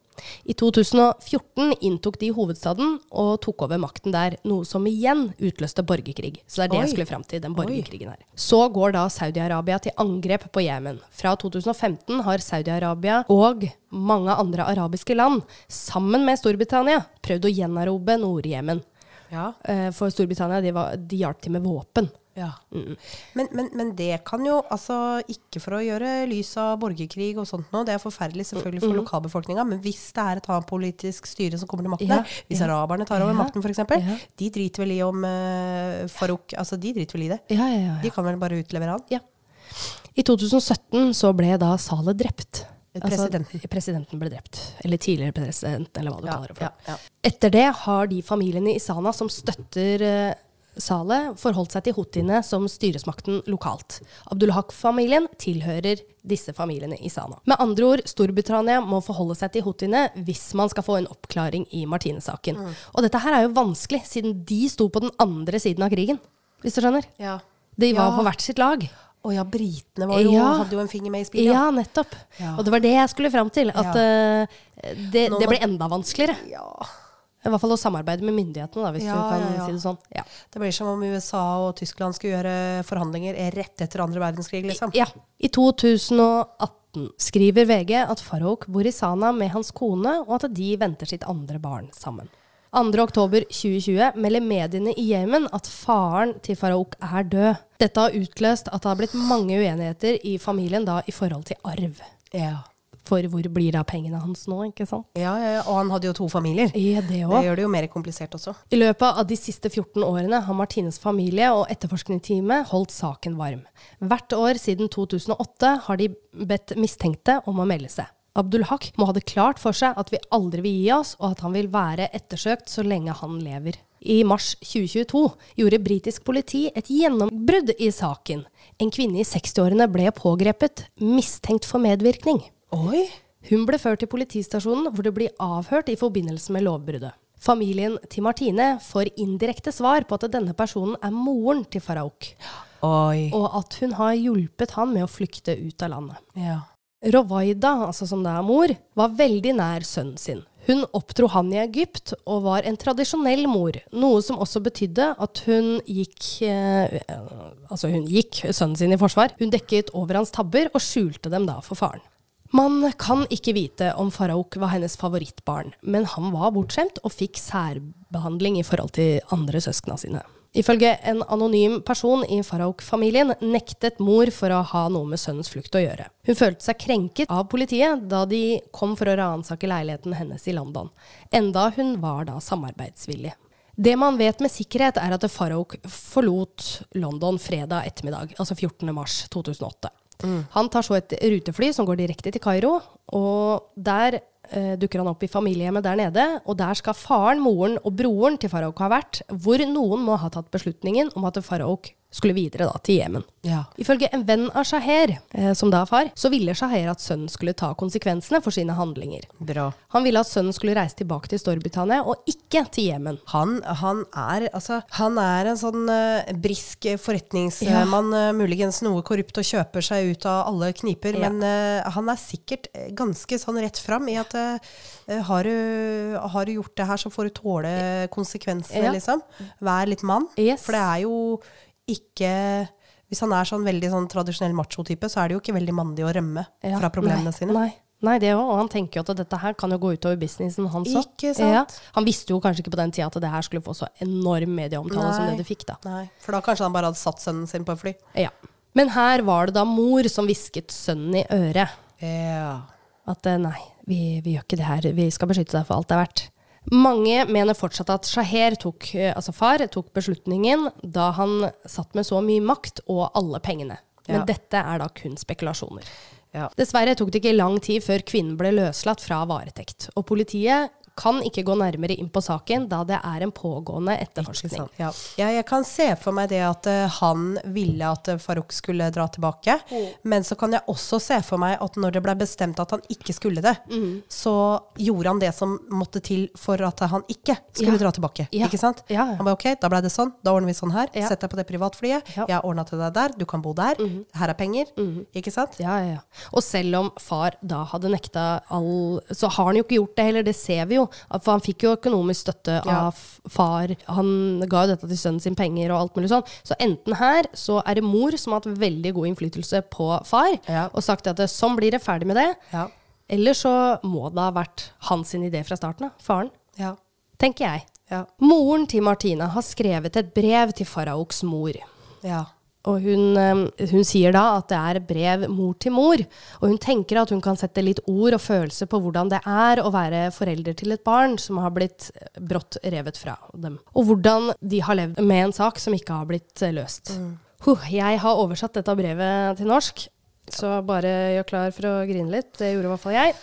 [SPEAKER 1] I 2014 inntok de hovedstaden og tok over makten der, noe som igjen utløste borgerkrig. Så det er det jeg
[SPEAKER 2] Oi.
[SPEAKER 1] skulle frem til, den borgerkrigen her. Så går da Saudi-Arabia til angrep på Jemen. Fra 2015 har Saudi-Arabia og mange andre arabiske land, sammen med Storbritannia, prøvd å gjenerobre Nord-Jemen.
[SPEAKER 2] Ja.
[SPEAKER 1] Eh, For Storbritannia de var, de hjalp til med våpen.
[SPEAKER 2] Ja. Men, men, men det kan jo, altså ikke for å gjøre lys av borgerkrig og sånt nå, det er forferdelig selvfølgelig for lokalbefolkninga, men hvis det er et annet politisk styre som kommer til makten,
[SPEAKER 1] Ja,
[SPEAKER 2] her, hvis
[SPEAKER 1] ja.
[SPEAKER 2] araberne tar over
[SPEAKER 1] Ja,
[SPEAKER 2] makten f.eks., eksempel,
[SPEAKER 1] ja.
[SPEAKER 2] de driter vel i om uh, Farouk Altså, de driter vel i det.
[SPEAKER 1] Ja, ja, ja.
[SPEAKER 2] De kan vel bare utlevere han.
[SPEAKER 1] Ja. I 2017 så ble da Saleh drept.
[SPEAKER 2] Eh, Presidenten.
[SPEAKER 1] Altså, presidenten ble drept. Eller tidligere president, eller hva du
[SPEAKER 2] Ja,
[SPEAKER 1] kaller det. for.
[SPEAKER 2] ja, ja.
[SPEAKER 1] Etter det har de familiene i Sana som støtter eh, Saleh, forholdt seg til houthiene som styresmakten lokalt. Abdul Haq-familien tilhører disse familiene i Sana. Med andre ord, Storbritannia må forholde seg til houthiene hvis man skal få en oppklaring i Martine-saken.
[SPEAKER 2] Mm.
[SPEAKER 1] Og dette her er jo vanskelig, siden de sto på den andre siden av krigen. Hvis du skjønner?
[SPEAKER 2] Ja.
[SPEAKER 1] De var
[SPEAKER 2] Ja.
[SPEAKER 1] på hvert sitt lag.
[SPEAKER 2] Å ja, britene var jo,
[SPEAKER 1] Ja.
[SPEAKER 2] hadde jo en finger med i spillet.
[SPEAKER 1] Ja, nettopp.
[SPEAKER 2] Ja.
[SPEAKER 1] Og det var det jeg skulle fram til. At eh, det,
[SPEAKER 2] Nå
[SPEAKER 1] det
[SPEAKER 2] må-
[SPEAKER 1] ble enda vanskeligere.
[SPEAKER 2] ja.
[SPEAKER 1] I hvert fall å samarbeide med myndighetene, da, hvis
[SPEAKER 2] Ja,
[SPEAKER 1] du kan
[SPEAKER 2] ja, ja.
[SPEAKER 1] si det sånn. Ja.
[SPEAKER 2] Det blir som om USA og Tyskland skulle gjøre forhandlinger rett etter andre verdenskrig, liksom.
[SPEAKER 1] ja. I 2018 skriver VG at Farouk bor i Sana med hans kone, og at de venter sitt andre barn sammen. 2. oktober 2020 melder mediene i Jemen at faren til Farouk er død. Dette har utløst at det har blitt mange uenigheter i familien da i forhold til arv.
[SPEAKER 2] Ja.
[SPEAKER 1] For hvor blir da pengene hans nå, ikke sant?
[SPEAKER 2] Ja, ja, ja. Og han hadde jo to familier.
[SPEAKER 1] Ja, det
[SPEAKER 2] Det
[SPEAKER 1] òg.
[SPEAKER 2] gjør det jo mer komplisert også.
[SPEAKER 1] I løpet av de siste 14 årene har Martines familie og etterforskningsteamet holdt saken varm. Hvert år siden 2008 har de bedt mistenkte om å melde seg. Abdul Haq må ha det klart for seg at vi aldri vil gi oss, og at han vil være ettersøkt så lenge han lever. I mars 2022 gjorde britisk politi et gjennombrudd i saken. En kvinne i 60-årene ble pågrepet, mistenkt for medvirkning.
[SPEAKER 2] Oi!
[SPEAKER 1] Hun ble ført til politistasjonen, hvor det blir avhørt i forbindelse med lovbruddet. Familien til Martine får indirekte svar på at denne personen er moren til Farouk,
[SPEAKER 2] Oi.
[SPEAKER 1] og at hun har hjulpet han med å flykte ut av landet.
[SPEAKER 2] Ja.
[SPEAKER 1] Rowaida, altså som det er mor, var veldig nær sønnen sin. Hun oppdro han i Egypt og var en tradisjonell mor, noe som også betydde at hun gikk eh, Altså, hun gikk sønnen sin i forsvar. Hun dekket over hans tabber og skjulte dem da for faren. Man kan ikke vite om Farouk var hennes favorittbarn, men han var bortskjemt og fikk særbehandling i forhold til andre søskna sine. Ifølge en anonym person i Farouk-familien nektet mor for å ha noe med sønnens flukt å gjøre. Hun følte seg krenket av politiet da de kom for å ransake leiligheten hennes i London, enda hun var da samarbeidsvillig. Det man vet med sikkerhet, er at Farouk forlot London fredag ettermiddag, altså 14. mars 2008. Han tar så et rutefly som går direkte til Kairo, og der eh, dukker han opp i familiehjemmet der nede. Og der skal faren, moren og broren til Farouk ha vært, hvor noen må ha tatt beslutningen om at Farouk skulle videre da, til Jemen.
[SPEAKER 2] Ja.
[SPEAKER 1] Ifølge en venn av Shaher, eh, som da er far, så ville Shaher at sønnen skulle ta konsekvensene for sine handlinger.
[SPEAKER 2] Bra.
[SPEAKER 1] Han ville at sønnen skulle reise tilbake til Storbritannia, og ikke til Jemen.
[SPEAKER 2] Han, han, er, altså, han er en sånn eh, brisk forretningsmann, eh, muligens noe korrupt og kjøper seg ut av alle kniper,
[SPEAKER 1] Ja.
[SPEAKER 2] men eh, han er sikkert eh, ganske sånn rett fram i at eh, eh, har, du, har du gjort det her, så får du tåle konsekvensene,
[SPEAKER 1] Ja.
[SPEAKER 2] liksom. Vær litt mann.
[SPEAKER 1] Yes.
[SPEAKER 2] For det er jo ikke Hvis han er sånn veldig sånn tradisjonell macho-type, så er det jo ikke veldig mandig å rømme
[SPEAKER 1] Ja,
[SPEAKER 2] fra problemene
[SPEAKER 1] nei,
[SPEAKER 2] sine.
[SPEAKER 1] Nei, nei det òg. Og han tenker jo at dette her kan jo gå utover businessen hans òg.
[SPEAKER 2] Ikke sant?
[SPEAKER 1] Han visste jo kanskje ikke på den tida at det her skulle få så enorm medieomtale som
[SPEAKER 2] Nei.
[SPEAKER 1] det det fikk, da.
[SPEAKER 2] Nei, for da kanskje han bare hadde satt sønnen sin på et fly.
[SPEAKER 1] Ja. Men her var det da mor som hvisket sønnen i øret
[SPEAKER 2] Ja.
[SPEAKER 1] at eh, nei, vi, vi gjør ikke det her, vi skal beskytte deg for alt det er verdt. Mange mener fortsatt at Shaher, tok, eh, altså far, tok beslutningen da han satt med så mye makt og alle pengene. Men
[SPEAKER 2] Ja.
[SPEAKER 1] dette er da kun spekulasjoner.
[SPEAKER 2] Ja.
[SPEAKER 1] Dessverre tok det ikke lang tid før kvinnen ble løslatt fra varetekt, og politiet kan ikke gå nærmere inn på saken, da det er en pågående
[SPEAKER 2] Ikke
[SPEAKER 1] etterforskning.
[SPEAKER 2] sant? Ja. Ja, jeg kan se for meg det at eh, han ville at eh, Farouk skulle dra tilbake.
[SPEAKER 1] Mm.
[SPEAKER 2] Men så kan jeg også se for meg at når det ble bestemt at han ikke skulle det,
[SPEAKER 1] Mm.
[SPEAKER 2] så gjorde han det som måtte til for at han ikke
[SPEAKER 1] Ja.
[SPEAKER 2] skulle dra tilbake.
[SPEAKER 1] Ja.
[SPEAKER 2] Ikke sant?
[SPEAKER 1] Ja.
[SPEAKER 2] Han bare ok, da ble det sånn. Da ordner vi sånn her.
[SPEAKER 1] Ja.
[SPEAKER 2] Sett deg på det privatflyet.
[SPEAKER 1] Ja. Mm.
[SPEAKER 2] Jeg har ordna til deg der. Du kan bo der. Her er penger. Ikke sant?
[SPEAKER 1] Ja, ja, ja. Og selv om far da hadde nekta all Så har han jo ikke gjort det heller, det ser vi jo. For han fikk jo økonomisk støtte
[SPEAKER 2] Ja.
[SPEAKER 1] av far. Han ga jo dette til sønnen sin penger og alt mulig sånn. Så enten her så er det mor som har hatt veldig god innflytelse på far,
[SPEAKER 2] Ja.
[SPEAKER 1] og sagt at sånn blir det, ferdig med det.
[SPEAKER 2] Ja.
[SPEAKER 1] Eller så må det ha vært hans sin idé fra starten av. Faren,
[SPEAKER 2] Ja.
[SPEAKER 1] tenker jeg.
[SPEAKER 2] Ja.
[SPEAKER 1] Moren til Martina har skrevet et brev til Farauks mor.
[SPEAKER 2] ja.
[SPEAKER 1] Og hun, eh, hun sier da at det er brev mor til mor, og hun tenker at hun kan sette litt ord og følelse på hvordan det er å være forelder til et barn som har blitt eh, brått revet fra dem, og hvordan de har levd med en sak som ikke har blitt eh, løst. Huh, jeg har oversatt dette brevet til norsk, så bare gjør klar for å grine litt. Det gjorde i hvert fall jeg.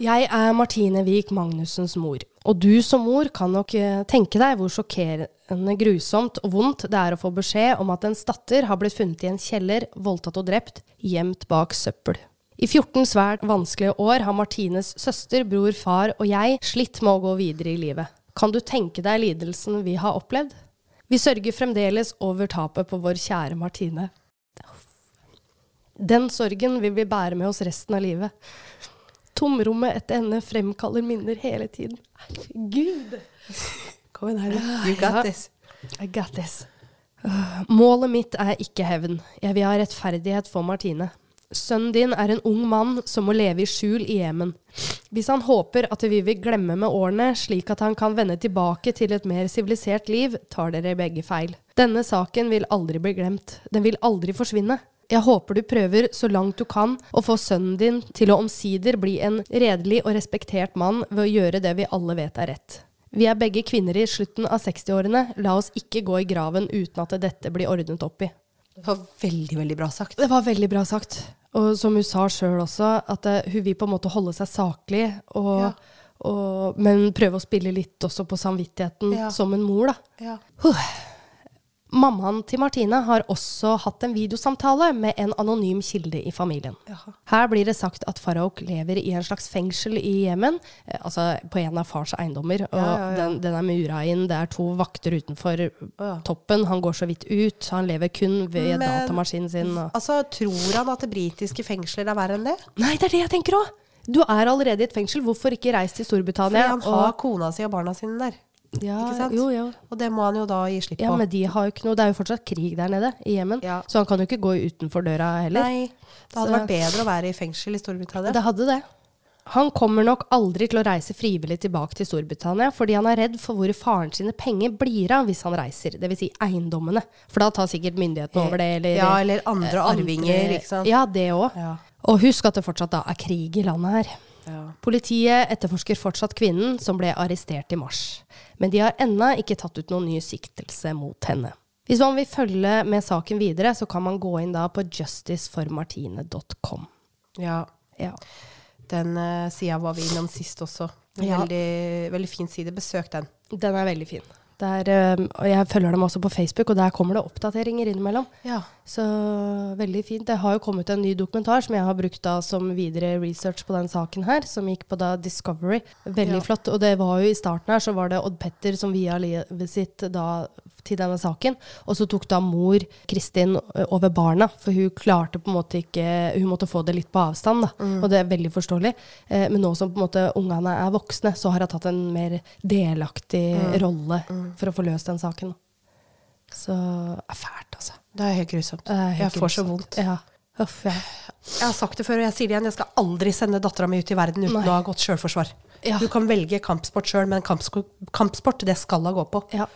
[SPEAKER 1] Jeg er Martine Wiik Magnussens mor, og du som mor kan nok eh, tenke deg hvor sjokkerende grusomt og vondt det er å få beskjed om at ens datter har blitt funnet i en kjeller, voldtatt og drept, gjemt bak søppel. I 14 svært vanskelige år har Martines søster, bror, far og jeg slitt med å gå videre i livet. Kan du tenke deg lidelsen vi har opplevd? Vi sørger fremdeles over tapet på vår kjære Martine. Den sorgen vil vi bære med oss resten av livet. Tomrommet etter henne fremkaller minner hele tiden. Herregud!
[SPEAKER 2] Kom igjen, Heidi. You got
[SPEAKER 1] Ja.
[SPEAKER 2] this.
[SPEAKER 1] I got this. Øh, Målet mitt er ikke hevn. Jeg vil ha rettferdighet for Martine. Sønnen din er en ung mann som må leve i skjul i Jemen. Hvis han håper at vi vil glemme med årene, slik at han kan vende tilbake til et mer sivilisert liv, tar dere begge feil. Denne saken vil aldri bli glemt. Den vil aldri forsvinne. Jeg håper du prøver så langt du kan å få sønnen din til å omsider bli en redelig og respektert mann ved å gjøre det vi alle vet er rett. Vi er begge kvinner i slutten av 60-årene. La oss ikke gå i graven uten at dette blir ordnet opp i.
[SPEAKER 2] Det var veldig, veldig bra sagt.
[SPEAKER 1] Det var veldig bra sagt. Og som hun sa sjøl også, at eh, hun vil på en måte holde seg saklig, og,
[SPEAKER 2] Ja.
[SPEAKER 1] og, men prøve å spille litt også på samvittigheten
[SPEAKER 2] Ja.
[SPEAKER 1] som en mor, da.
[SPEAKER 2] Ja.
[SPEAKER 1] Mammaen til Martine har også hatt en videosamtale med en anonym kilde i familien.
[SPEAKER 2] Jaha.
[SPEAKER 1] Her blir det sagt at Farouk lever i en slags fengsel i Jemen, eh, altså på en av fars eiendommer. Og
[SPEAKER 2] ja, ja.
[SPEAKER 1] Den, den er mura inn, det er to vakter utenfor
[SPEAKER 2] ja.
[SPEAKER 1] toppen, han går så vidt ut, han lever kun ved
[SPEAKER 2] Men-
[SPEAKER 1] datamaskinen sin. Og
[SPEAKER 2] Altså, tror han at det britiske fengsler er verre enn det?
[SPEAKER 1] Nei, det er det jeg tenker òg! Du er allerede i et fengsel, hvorfor ikke reise til
[SPEAKER 2] Fordi
[SPEAKER 1] Storbritannia?
[SPEAKER 2] han har kona si og barna sine der.
[SPEAKER 1] og, ja,
[SPEAKER 2] ikke sant?
[SPEAKER 1] Jo, jo.
[SPEAKER 2] Og det må han jo da gi slipp
[SPEAKER 1] Ja,
[SPEAKER 2] på.
[SPEAKER 1] men de har jo ikke noe, Det er jo fortsatt krig der nede, i Jemen.
[SPEAKER 2] Ja.
[SPEAKER 1] Så han kan jo ikke gå utenfor døra heller.
[SPEAKER 2] Nei, det hadde
[SPEAKER 1] Så-
[SPEAKER 2] vært bedre å være i fengsel i Storbritannia.
[SPEAKER 1] Det hadde det. Han kommer nok aldri til å reise frivillig tilbake til Storbritannia, fordi han er redd for hvor faren sine penger blir av hvis han reiser, dvs. Si eiendommene. For da tar sikkert myndighetene over det, eller
[SPEAKER 2] ja, eller andre
[SPEAKER 1] eh,
[SPEAKER 2] arvinger, ikke sant?
[SPEAKER 1] Ja, det òg.
[SPEAKER 2] Ja.
[SPEAKER 1] Og husk at det fortsatt da er krig i landet her.
[SPEAKER 2] Ja.
[SPEAKER 1] Politiet etterforsker fortsatt kvinnen som ble arrestert i mars, men de har ennå ikke tatt ut noen ny siktelse mot henne. Hvis man vil følge med saken videre, så kan man gå inn da på justiceformartine.com.
[SPEAKER 2] ja.
[SPEAKER 1] Ja.
[SPEAKER 2] Den eh, sida var vi innom sist også.
[SPEAKER 1] Ja.
[SPEAKER 2] Veldig, veldig fin side. Besøk den.
[SPEAKER 1] Den er veldig fin. Der, eh, og jeg følger dem også på Facebook, og der kommer det oppdateringer innimellom.
[SPEAKER 2] Ja.
[SPEAKER 1] Så veldig fint. Det har jo kommet en ny dokumentar som jeg har brukt da som videre research på den saken her, som gikk på da Discovery. Veldig
[SPEAKER 2] Ja.
[SPEAKER 1] flott. Og det var jo i starten her, så var det Odd Petter som via livet sitt da til denne saken. Og så tok da mor Kristin ø, over barna, for hun klarte på en måte ikke Hun måtte få det litt på avstand, da. Og det er veldig forståelig. Eh, men nå som på en måte ungene er voksne, så har hun tatt en mer delaktig rolle for å få løst den saken. Så det er fælt, altså.
[SPEAKER 2] Det er helt grusomt.
[SPEAKER 1] Det er helt
[SPEAKER 2] jeg får så
[SPEAKER 1] grusomt.
[SPEAKER 2] vondt.
[SPEAKER 1] Ja. Uff, ja.
[SPEAKER 2] Jeg har sagt det før, og jeg sier det igjen. Jeg skal aldri sende dattera mi ut i verden uten
[SPEAKER 1] Nei.
[SPEAKER 2] å ha gått sjølforsvar.
[SPEAKER 1] Ja.
[SPEAKER 2] Du kan velge kampsport sjøl, men kampsko- kampsport, det skal hun gå på.
[SPEAKER 1] Ja.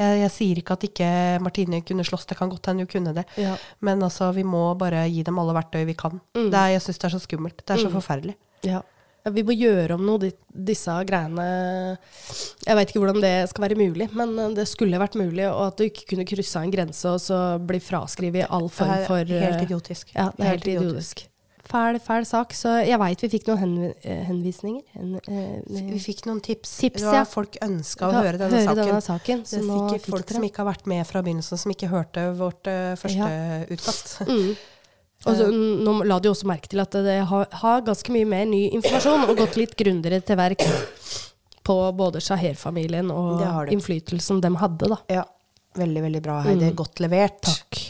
[SPEAKER 2] Jeg, jeg sier ikke at ikke Martine kunne slåss, det kan godt hende hun kunne det.
[SPEAKER 1] Ja.
[SPEAKER 2] Men altså, vi må bare gi dem alle verktøy vi kan. Det er, jeg syns det er så skummelt. Det er så forferdelig.
[SPEAKER 1] Ja. Ja, Vi må gjøre om noe, de, disse greiene Jeg veit ikke hvordan det skal være mulig, men eh, det skulle vært mulig. Og at du ikke kunne kryssa en grense og så bli fraskrevet all form
[SPEAKER 2] Det er
[SPEAKER 1] for eh,
[SPEAKER 2] helt idiotisk.
[SPEAKER 1] Ja, det er helt idiotisk. fæl, fæl sak. Så jeg veit vi fikk noen henv eh, henvisninger. En, eh,
[SPEAKER 2] Vi fikk noen tips.
[SPEAKER 1] Tips,
[SPEAKER 2] det var
[SPEAKER 1] ja.
[SPEAKER 2] Folk ønska å
[SPEAKER 1] Ja,
[SPEAKER 2] høre denne saken.
[SPEAKER 1] denne saken.
[SPEAKER 2] Så det
[SPEAKER 1] nå
[SPEAKER 2] er sikkert
[SPEAKER 1] fikk
[SPEAKER 2] folk
[SPEAKER 1] dere
[SPEAKER 2] som
[SPEAKER 1] den.
[SPEAKER 2] ikke har vært med fra begynnelsen, som ikke hørte vårt eh, første utkast.
[SPEAKER 1] Mm. Og så, mm, nå la du jo også merke til at det har, har ganske mye mer ny informasjon og gått litt grundigere til verk på både Shaher-familien og
[SPEAKER 2] Det har det.
[SPEAKER 1] innflytelsen de hadde, da.
[SPEAKER 2] Ja, veldig, veldig bra, Heidi. Godt levert.
[SPEAKER 1] Takk.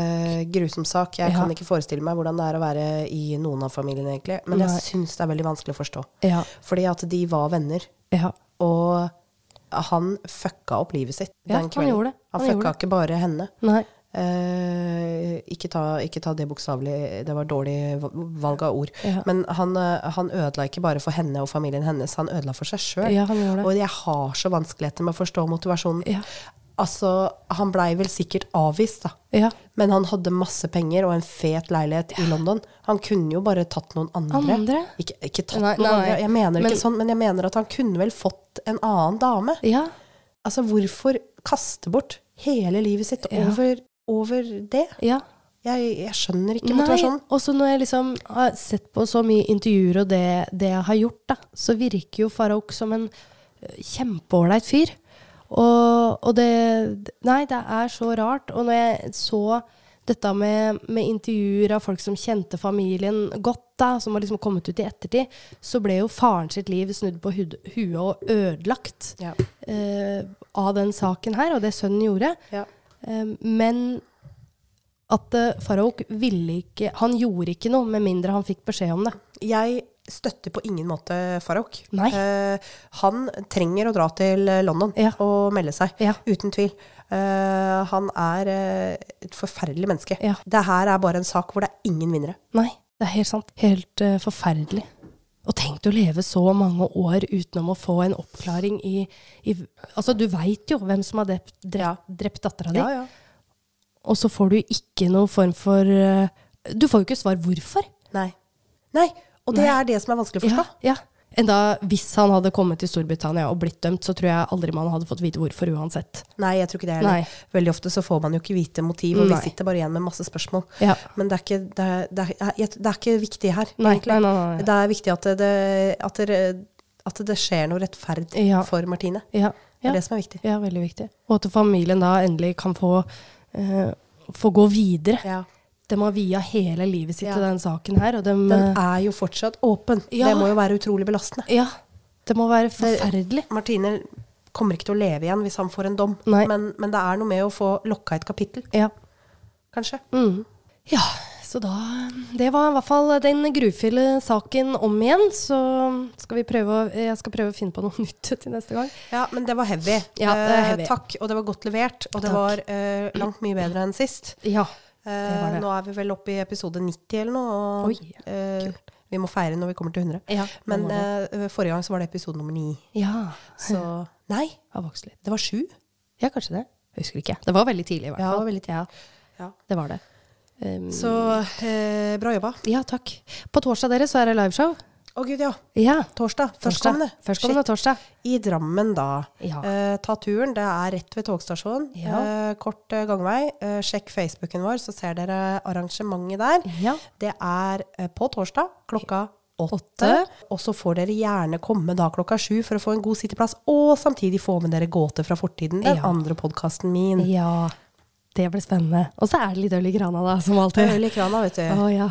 [SPEAKER 2] Eh, grusom sak. Jeg
[SPEAKER 1] Ja.
[SPEAKER 2] kan ikke forestille meg hvordan det er å være i noen av familiene, egentlig. Men
[SPEAKER 1] Nei.
[SPEAKER 2] jeg syns det er veldig vanskelig å forstå.
[SPEAKER 1] Ja.
[SPEAKER 2] Fordi at de var venner,
[SPEAKER 1] Ja.
[SPEAKER 2] og han fucka opp livet sitt
[SPEAKER 1] Ja,
[SPEAKER 2] den
[SPEAKER 1] han
[SPEAKER 2] kvelden.
[SPEAKER 1] gjorde det.
[SPEAKER 2] Han,
[SPEAKER 1] Han gjorde
[SPEAKER 2] fucka ikke bare henne.
[SPEAKER 1] Nei.
[SPEAKER 2] Eh, ikke, ta, ikke ta det bokstavelig, det var dårlig va- valg av ord.
[SPEAKER 1] Ja.
[SPEAKER 2] Men han, eh, han ødela ikke bare for henne og familien hennes, han ødela for seg sjøl.
[SPEAKER 1] Ja, han gjorde det.
[SPEAKER 2] og jeg har så vanskeligheter med å forstå motivasjonen.
[SPEAKER 1] Ja.
[SPEAKER 2] Altså, han blei vel sikkert avvist, da.
[SPEAKER 1] Ja.
[SPEAKER 2] Men han hadde masse penger og en fet leilighet i London. Han kunne jo bare tatt noen andre.
[SPEAKER 1] Andre?
[SPEAKER 2] Ikke, ikke tatt
[SPEAKER 1] Nei,
[SPEAKER 2] noen
[SPEAKER 1] nei, nei.
[SPEAKER 2] andre, jeg mener
[SPEAKER 1] Men-
[SPEAKER 2] ikke sånn, men jeg mener at han kunne vel fått en annen dame.
[SPEAKER 1] Ja.
[SPEAKER 2] Altså, hvorfor kaste bort hele livet sitt
[SPEAKER 1] Ja.
[SPEAKER 2] over, over det?
[SPEAKER 1] ja.
[SPEAKER 2] Jeg, jeg skjønner ikke sånn.
[SPEAKER 1] Nei,
[SPEAKER 2] motivasjonen.
[SPEAKER 1] og så når jeg liksom har sett på så mye intervjuer og det, det jeg har gjort, da, så virker jo Farouk som en eh, kjempeålreit fyr. Og, og det Nei, det er så rart. Og når jeg så dette med, med intervjuer av folk som kjente familien godt, da, som har liksom kommet ut i ettertid, så ble jo faren sitt liv snudd på hud, huet og ødelagt
[SPEAKER 2] Ja.
[SPEAKER 1] eh, av den saken her, og det sønnen gjorde.
[SPEAKER 2] Ja.
[SPEAKER 1] Eh, men at uh, Farouk ville ikke Han gjorde ikke noe med mindre han fikk beskjed om det.
[SPEAKER 2] Jeg støtter på ingen måte Farouk.
[SPEAKER 1] Nei.
[SPEAKER 2] Eh, han trenger å dra til eh, London
[SPEAKER 1] Ja.
[SPEAKER 2] og melde seg.
[SPEAKER 1] Ja.
[SPEAKER 2] Uten tvil. Eh, han er eh, et forferdelig menneske.
[SPEAKER 1] Ja.
[SPEAKER 2] Det her er bare en sak hvor det er ingen vinnere.
[SPEAKER 1] Nei, det er helt sant. Helt eh, forferdelig. Og tenk deg å leve så mange år utenom å få en oppklaring i, i Altså, du veit jo hvem som har drept,
[SPEAKER 2] Ja.
[SPEAKER 1] drept, drept dattera di, og så får du ikke noe form for eh, Du får jo ikke svar hvorfor.
[SPEAKER 2] Nei. Nei. Og det er det som er vanskelig å forstå.
[SPEAKER 1] Ja, ja. Enda hvis han hadde kommet til Storbritannia og blitt dømt, så tror jeg aldri man hadde fått vite hvorfor uansett.
[SPEAKER 2] Nei, jeg tror ikke det
[SPEAKER 1] Nei.
[SPEAKER 2] heller. Veldig ofte så får man jo ikke vite motiv, og
[SPEAKER 1] Nei.
[SPEAKER 2] vi sitter bare igjen med masse spørsmål.
[SPEAKER 1] Ja.
[SPEAKER 2] Men det er, ikke, det, er, det, er, jeg- det er ikke viktig her,
[SPEAKER 1] Nei,
[SPEAKER 2] egentlig.
[SPEAKER 1] nei, nei, nei.
[SPEAKER 2] Det er viktig at det, at det, at det skjer noe rettferdig
[SPEAKER 1] Ja.
[SPEAKER 2] for Martine.
[SPEAKER 1] Ja, ja.
[SPEAKER 2] Det er det som er viktig.
[SPEAKER 1] Ja, veldig viktig. Og at familien da endelig kan få, eh, få gå videre.
[SPEAKER 2] Ja.
[SPEAKER 1] De har via hele livet sitt
[SPEAKER 2] Ja.
[SPEAKER 1] til den saken her, og de
[SPEAKER 2] Den
[SPEAKER 1] eh,
[SPEAKER 2] er jo fortsatt åpen.
[SPEAKER 1] Ja.
[SPEAKER 2] Det må jo være utrolig belastende.
[SPEAKER 1] eh, Ja. Det må være forferdelig.
[SPEAKER 2] Martine kommer ikke til å leve igjen hvis han får en dom,
[SPEAKER 1] Nei.
[SPEAKER 2] men, men det er noe med å få lokka et kapittel,
[SPEAKER 1] Ja.
[SPEAKER 2] kanskje.
[SPEAKER 1] Mm. ja. Så da Det var i hvert fall den grufulle saken om igjen. Så skal vi prøve å Jeg skal prøve å finne på noe nytt til neste gang.
[SPEAKER 2] Ja, men det var heavy.
[SPEAKER 1] Ja, det er
[SPEAKER 2] Eh,
[SPEAKER 1] heavy.
[SPEAKER 2] takk, og det var godt levert, og det
[SPEAKER 1] Takk.
[SPEAKER 2] var eh, langt mye bedre enn sist.
[SPEAKER 1] Ja.
[SPEAKER 2] Eh,
[SPEAKER 1] Det var det.
[SPEAKER 2] Nå er vi vel oppe i episode 90 eller noe, og
[SPEAKER 1] Oi,
[SPEAKER 2] eh, vi må feire når vi kommer til 100.
[SPEAKER 1] Ja,
[SPEAKER 2] men
[SPEAKER 1] må
[SPEAKER 2] eh, forrige gang så var det episode nummer 9,
[SPEAKER 1] Ja.
[SPEAKER 2] så Nei,
[SPEAKER 1] Har vokst litt.
[SPEAKER 2] det var 7.
[SPEAKER 1] Ja, kanskje det. Jeg husker ikke. Det var veldig tidlig, i hvert
[SPEAKER 2] Ja,
[SPEAKER 1] fall.
[SPEAKER 2] det var veldig tidlig.
[SPEAKER 1] Ja.
[SPEAKER 2] Ja.
[SPEAKER 1] Det var det. Um,
[SPEAKER 2] Så eh, bra jobba.
[SPEAKER 1] Ja, takk. På torsdag dere så er det liveshow.
[SPEAKER 2] Å gud, ja.
[SPEAKER 1] Ja.
[SPEAKER 2] Torsdag.
[SPEAKER 1] Torsdag.
[SPEAKER 2] Førstkommende.
[SPEAKER 1] Førstkommende torsdag.
[SPEAKER 2] I Drammen, da.
[SPEAKER 1] Ja.
[SPEAKER 2] Eh, ta turen. Det er rett ved togstasjonen.
[SPEAKER 1] Ja.
[SPEAKER 2] Eh, kort eh, gangvei. Eh, sjekk Facebooken vår, så ser dere arrangementet der.
[SPEAKER 1] Ja.
[SPEAKER 2] Det er eh, på torsdag klokka åtte.
[SPEAKER 1] Åtte.
[SPEAKER 2] Og så får dere gjerne komme da klokka sju for å få en god sitteplass, og samtidig få med dere gåter fra fortiden. Den
[SPEAKER 1] Ja.
[SPEAKER 2] andre podkasten min.
[SPEAKER 1] ja. Det blir spennende. Og så er det litt øl i krana, da, som alltid.
[SPEAKER 2] Øl i krana, vet du.
[SPEAKER 1] Å ja.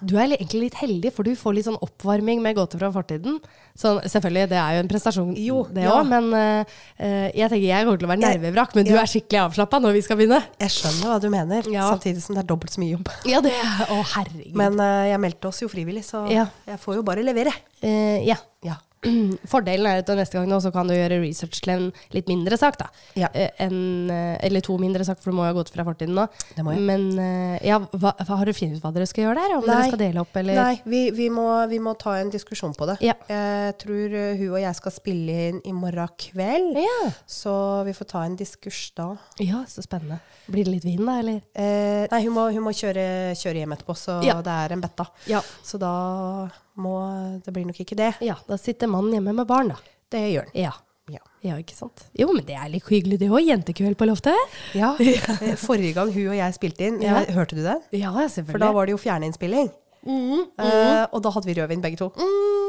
[SPEAKER 1] Du er li- egentlig litt heldig, for du får litt sånn oppvarming med gåter fra fortiden. Sånn, selvfølgelig, det er jo en prestasjon,
[SPEAKER 2] Jo,
[SPEAKER 1] det òg,
[SPEAKER 2] ja.
[SPEAKER 1] men eh, eh, jeg tenker jeg kommer til å være
[SPEAKER 2] Jeg-
[SPEAKER 1] nervevrak. Men du
[SPEAKER 2] ja.
[SPEAKER 1] er skikkelig avslappa når vi skal begynne.
[SPEAKER 2] Jeg skjønner hva du mener,
[SPEAKER 1] Ja.
[SPEAKER 2] samtidig som det er dobbelt så mye jobb.
[SPEAKER 1] Ja, det Å, herregud.
[SPEAKER 2] Men eh, jeg meldte oss jo frivillig, så
[SPEAKER 1] Ja.
[SPEAKER 2] jeg får jo bare levere.
[SPEAKER 1] Eh, ja.
[SPEAKER 2] Ja.
[SPEAKER 1] Fordelen er at neste gang nå så kan du gjøre research til en litt mindre sak, da.
[SPEAKER 2] Ja.
[SPEAKER 1] Eh, en, eh, eller to mindre saker, for du må jo ha gått fra fortiden nå.
[SPEAKER 2] Det må jeg.
[SPEAKER 1] Men eh, ja, hva, hva, har dere funnet ut hva dere skal gjøre der? Om dere skal dele opp, eller?
[SPEAKER 2] Nei, vi, vi, må, vi må ta en diskusjon på det.
[SPEAKER 1] Ja.
[SPEAKER 2] Jeg tror eh, hun og jeg skal spille inn i morgen kveld,
[SPEAKER 1] Ja.
[SPEAKER 2] så vi får ta en diskurs da.
[SPEAKER 1] ja, så spennende. Blir det litt vin, da, eller?
[SPEAKER 2] Eh, nei, hun må, hun må kjøre, kjøre hjem etterpå, så
[SPEAKER 1] Ja.
[SPEAKER 2] det er en betta.
[SPEAKER 1] Ja.
[SPEAKER 2] Så da må Det blir nok ikke det.
[SPEAKER 1] Ja, da sitter mannen hjemme med barn, da.
[SPEAKER 2] Det gjør den.
[SPEAKER 1] Ja.
[SPEAKER 2] Ja.
[SPEAKER 1] Ja, ikke sant. Jo, men det er litt hyggelig det òg. Jentekveld på loftet.
[SPEAKER 2] Eh, Forrige gang hun og jeg spilte inn,
[SPEAKER 1] Ja.
[SPEAKER 2] jeg, hørte du det?
[SPEAKER 1] Ja, selvfølgelig. Mm.
[SPEAKER 2] For da var det jo fjerneinnspilling. Eh, og da hadde vi rødvin begge to.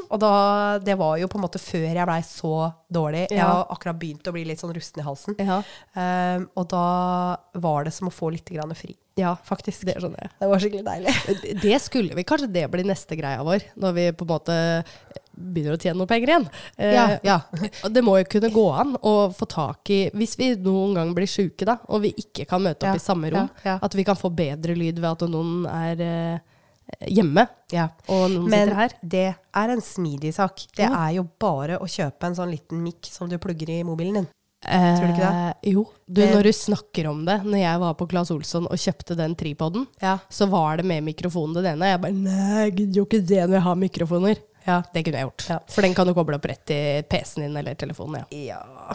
[SPEAKER 2] Og da, det var jo på en måte før jeg blei så dårlig. Jeg
[SPEAKER 1] Ja.
[SPEAKER 2] har akkurat begynt å bli litt sånn rusten i halsen.
[SPEAKER 1] Ja.
[SPEAKER 2] Eh, og da var det som å få litt grann fri,
[SPEAKER 1] Ja,
[SPEAKER 2] faktisk.
[SPEAKER 1] det skjønner jeg.
[SPEAKER 2] Det var skikkelig deilig.
[SPEAKER 1] Det skulle vi. Kanskje det blir neste greia vår, når vi på en måte begynner å tjene noen penger igjen. Eh,
[SPEAKER 2] Ja, ja.
[SPEAKER 1] og Det må jo kunne gå an å få tak i Hvis vi noen gang blir sjuke, da, og vi ikke kan møte opp
[SPEAKER 2] Ja,
[SPEAKER 1] i samme rom,
[SPEAKER 2] ja, ja.
[SPEAKER 1] at vi kan få bedre lyd ved at noen er eh, hjemme,
[SPEAKER 2] Ja.
[SPEAKER 1] og noen
[SPEAKER 2] Men
[SPEAKER 1] sitter her.
[SPEAKER 2] det er en smidig sak. Det
[SPEAKER 1] Ja.
[SPEAKER 2] er jo bare å kjøpe en sånn liten mikk som du plugger i mobilen din.
[SPEAKER 1] Tror
[SPEAKER 2] du ikke
[SPEAKER 1] det? Eh, Jo. Du,
[SPEAKER 2] Det-
[SPEAKER 1] når du snakker om det, når jeg var på Claes Olsson og kjøpte den tripoden,
[SPEAKER 2] Ja.
[SPEAKER 1] så var det med mikrofonen den ene. Jeg bare Nei, jeg gidder jo ikke det når jeg har mikrofoner.
[SPEAKER 2] Ja.
[SPEAKER 1] Det kunne jeg gjort.
[SPEAKER 2] Ja.
[SPEAKER 1] For den kan du koble opp rett til PC-en din eller telefonen. Ja.
[SPEAKER 2] Ja.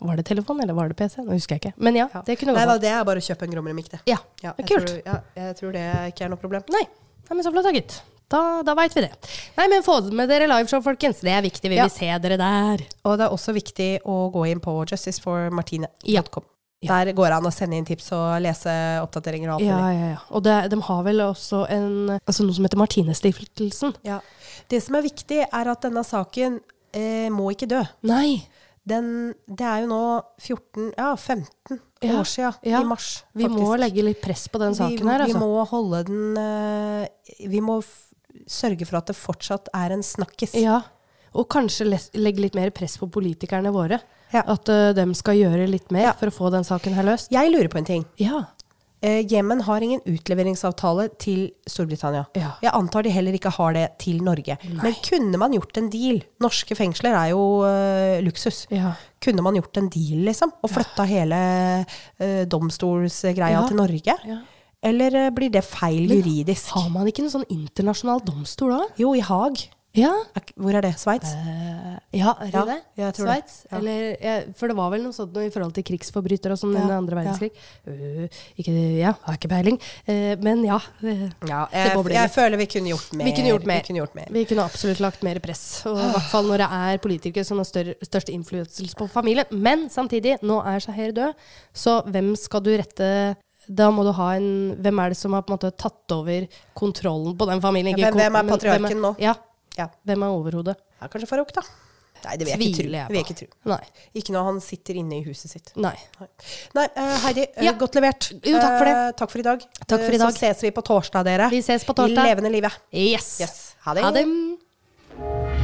[SPEAKER 1] Var det telefon eller var det PC? Nå husker jeg ikke. Men ja, det kunne
[SPEAKER 2] Nei
[SPEAKER 1] gå
[SPEAKER 2] da,
[SPEAKER 1] på.
[SPEAKER 2] det er bare å kjøpe en grommere mikk, det.
[SPEAKER 1] Ja,
[SPEAKER 2] Ja, jeg
[SPEAKER 1] kult.
[SPEAKER 2] Tror, ja, jeg tror det ikke er noe problem.
[SPEAKER 1] Nei. Nei, men så flott da, gitt. Da, da veit vi det. Nei, men få med dere liveshow, folkens. Det er viktig. Vi
[SPEAKER 2] Ja.
[SPEAKER 1] vil se dere der.
[SPEAKER 2] Og det er også viktig å gå inn på justiceformartine.com.
[SPEAKER 1] Ja.
[SPEAKER 2] Der går det an å sende inn tips og lese oppdateringer og alt mulig.
[SPEAKER 1] Ja, ja, ja. Og det, de har vel også en, altså noe som heter Martinestiftelsen.
[SPEAKER 2] Ja. Det som er viktig, er at denne saken eh, må ikke dø.
[SPEAKER 1] Nei.
[SPEAKER 2] Den, det er jo nå 14, ja, 15
[SPEAKER 1] Ja.
[SPEAKER 2] år siden,
[SPEAKER 1] Ja.
[SPEAKER 2] i mars,
[SPEAKER 1] Vi må legge litt press på den saken
[SPEAKER 2] vi,
[SPEAKER 1] her,
[SPEAKER 2] Vi
[SPEAKER 1] altså.
[SPEAKER 2] må holde den eh, Vi må f sørge for at det fortsatt er en snakkis.
[SPEAKER 1] Ja. Og kanskje les- legge litt mer press på politikerne våre.
[SPEAKER 2] Ja.
[SPEAKER 1] At uh, de skal gjøre litt mer
[SPEAKER 2] Ja.
[SPEAKER 1] for å få den saken her løst.
[SPEAKER 2] Jeg lurer på en ting.
[SPEAKER 1] Ja.
[SPEAKER 2] Eh, Jemen har ingen utleveringsavtale til Storbritannia.
[SPEAKER 1] Ja.
[SPEAKER 2] Jeg antar de heller ikke har det til Norge. Men kunne man gjort en deal? Norske fengsler er jo eh, luksus.
[SPEAKER 1] Ja.
[SPEAKER 2] Kunne man gjort en deal, liksom? Og flytta hele eh, domstolsgreia
[SPEAKER 1] Ja.
[SPEAKER 2] til Norge?
[SPEAKER 1] Ja.
[SPEAKER 2] Eller eh, blir det feil juridisk?
[SPEAKER 1] Har man ikke en sånn internasjonal domstol da?
[SPEAKER 2] Jo, i Haag.
[SPEAKER 1] Ja.
[SPEAKER 2] Er ikke- Hvor er det? Sveits?
[SPEAKER 1] Eh, Ja, er det
[SPEAKER 2] Ja,
[SPEAKER 1] det?
[SPEAKER 2] jeg tror det.
[SPEAKER 1] Sveits?
[SPEAKER 2] Ja.
[SPEAKER 1] Eller, ja, for det var vel noe sånt noe i forhold til krigsforbrytere og sånn
[SPEAKER 2] Ja,
[SPEAKER 1] under andre
[SPEAKER 2] ja.
[SPEAKER 1] verdenskrig. Øh, ikke, ja, har ikke peiling. Eh, men ja. eh,
[SPEAKER 2] Ja,
[SPEAKER 1] Det må
[SPEAKER 2] jeg,
[SPEAKER 1] bli
[SPEAKER 2] jeg
[SPEAKER 1] litt.
[SPEAKER 2] føler vi kunne gjort mer.
[SPEAKER 1] Vi kunne gjort mer.
[SPEAKER 2] Vi kunne gjort mer.
[SPEAKER 1] Vi kunne absolutt lagt mer press. Og I hvert fall når det er politikere som har større, størst innflytelse på familien. Men samtidig, nå er Shaher død, så hvem skal du rette da må du ha en, Hvem er det som har på en måte tatt over kontrollen på den familien?
[SPEAKER 2] Ja,
[SPEAKER 1] Ikke
[SPEAKER 2] hvem-
[SPEAKER 1] kon-
[SPEAKER 2] hvem er
[SPEAKER 1] men
[SPEAKER 2] patriarken nå?
[SPEAKER 1] Ja,
[SPEAKER 2] Ja.
[SPEAKER 1] hvem er overhodet?
[SPEAKER 2] ja, kanskje Farouk, da. Nei, det vil jeg ikke tro. Det
[SPEAKER 1] Tviler
[SPEAKER 2] vil jeg
[SPEAKER 1] jeg
[SPEAKER 2] ikke tro.
[SPEAKER 1] på. Nei.
[SPEAKER 2] Ikke når han sitter inne i huset sitt.
[SPEAKER 1] Nei.
[SPEAKER 2] Nei, Nei eh, Heidi, eh,
[SPEAKER 1] Ja.
[SPEAKER 2] godt levert.
[SPEAKER 1] Jo, takk for det.
[SPEAKER 2] Eh, takk for i dag.
[SPEAKER 1] Takk for i
[SPEAKER 2] Eh,
[SPEAKER 1] dag.
[SPEAKER 2] Så ses vi på torsdag, dere.
[SPEAKER 1] Vi ses på torsdag.
[SPEAKER 2] I levende livet.
[SPEAKER 1] Yes.
[SPEAKER 2] Yes. Ha det.
[SPEAKER 1] Ha det.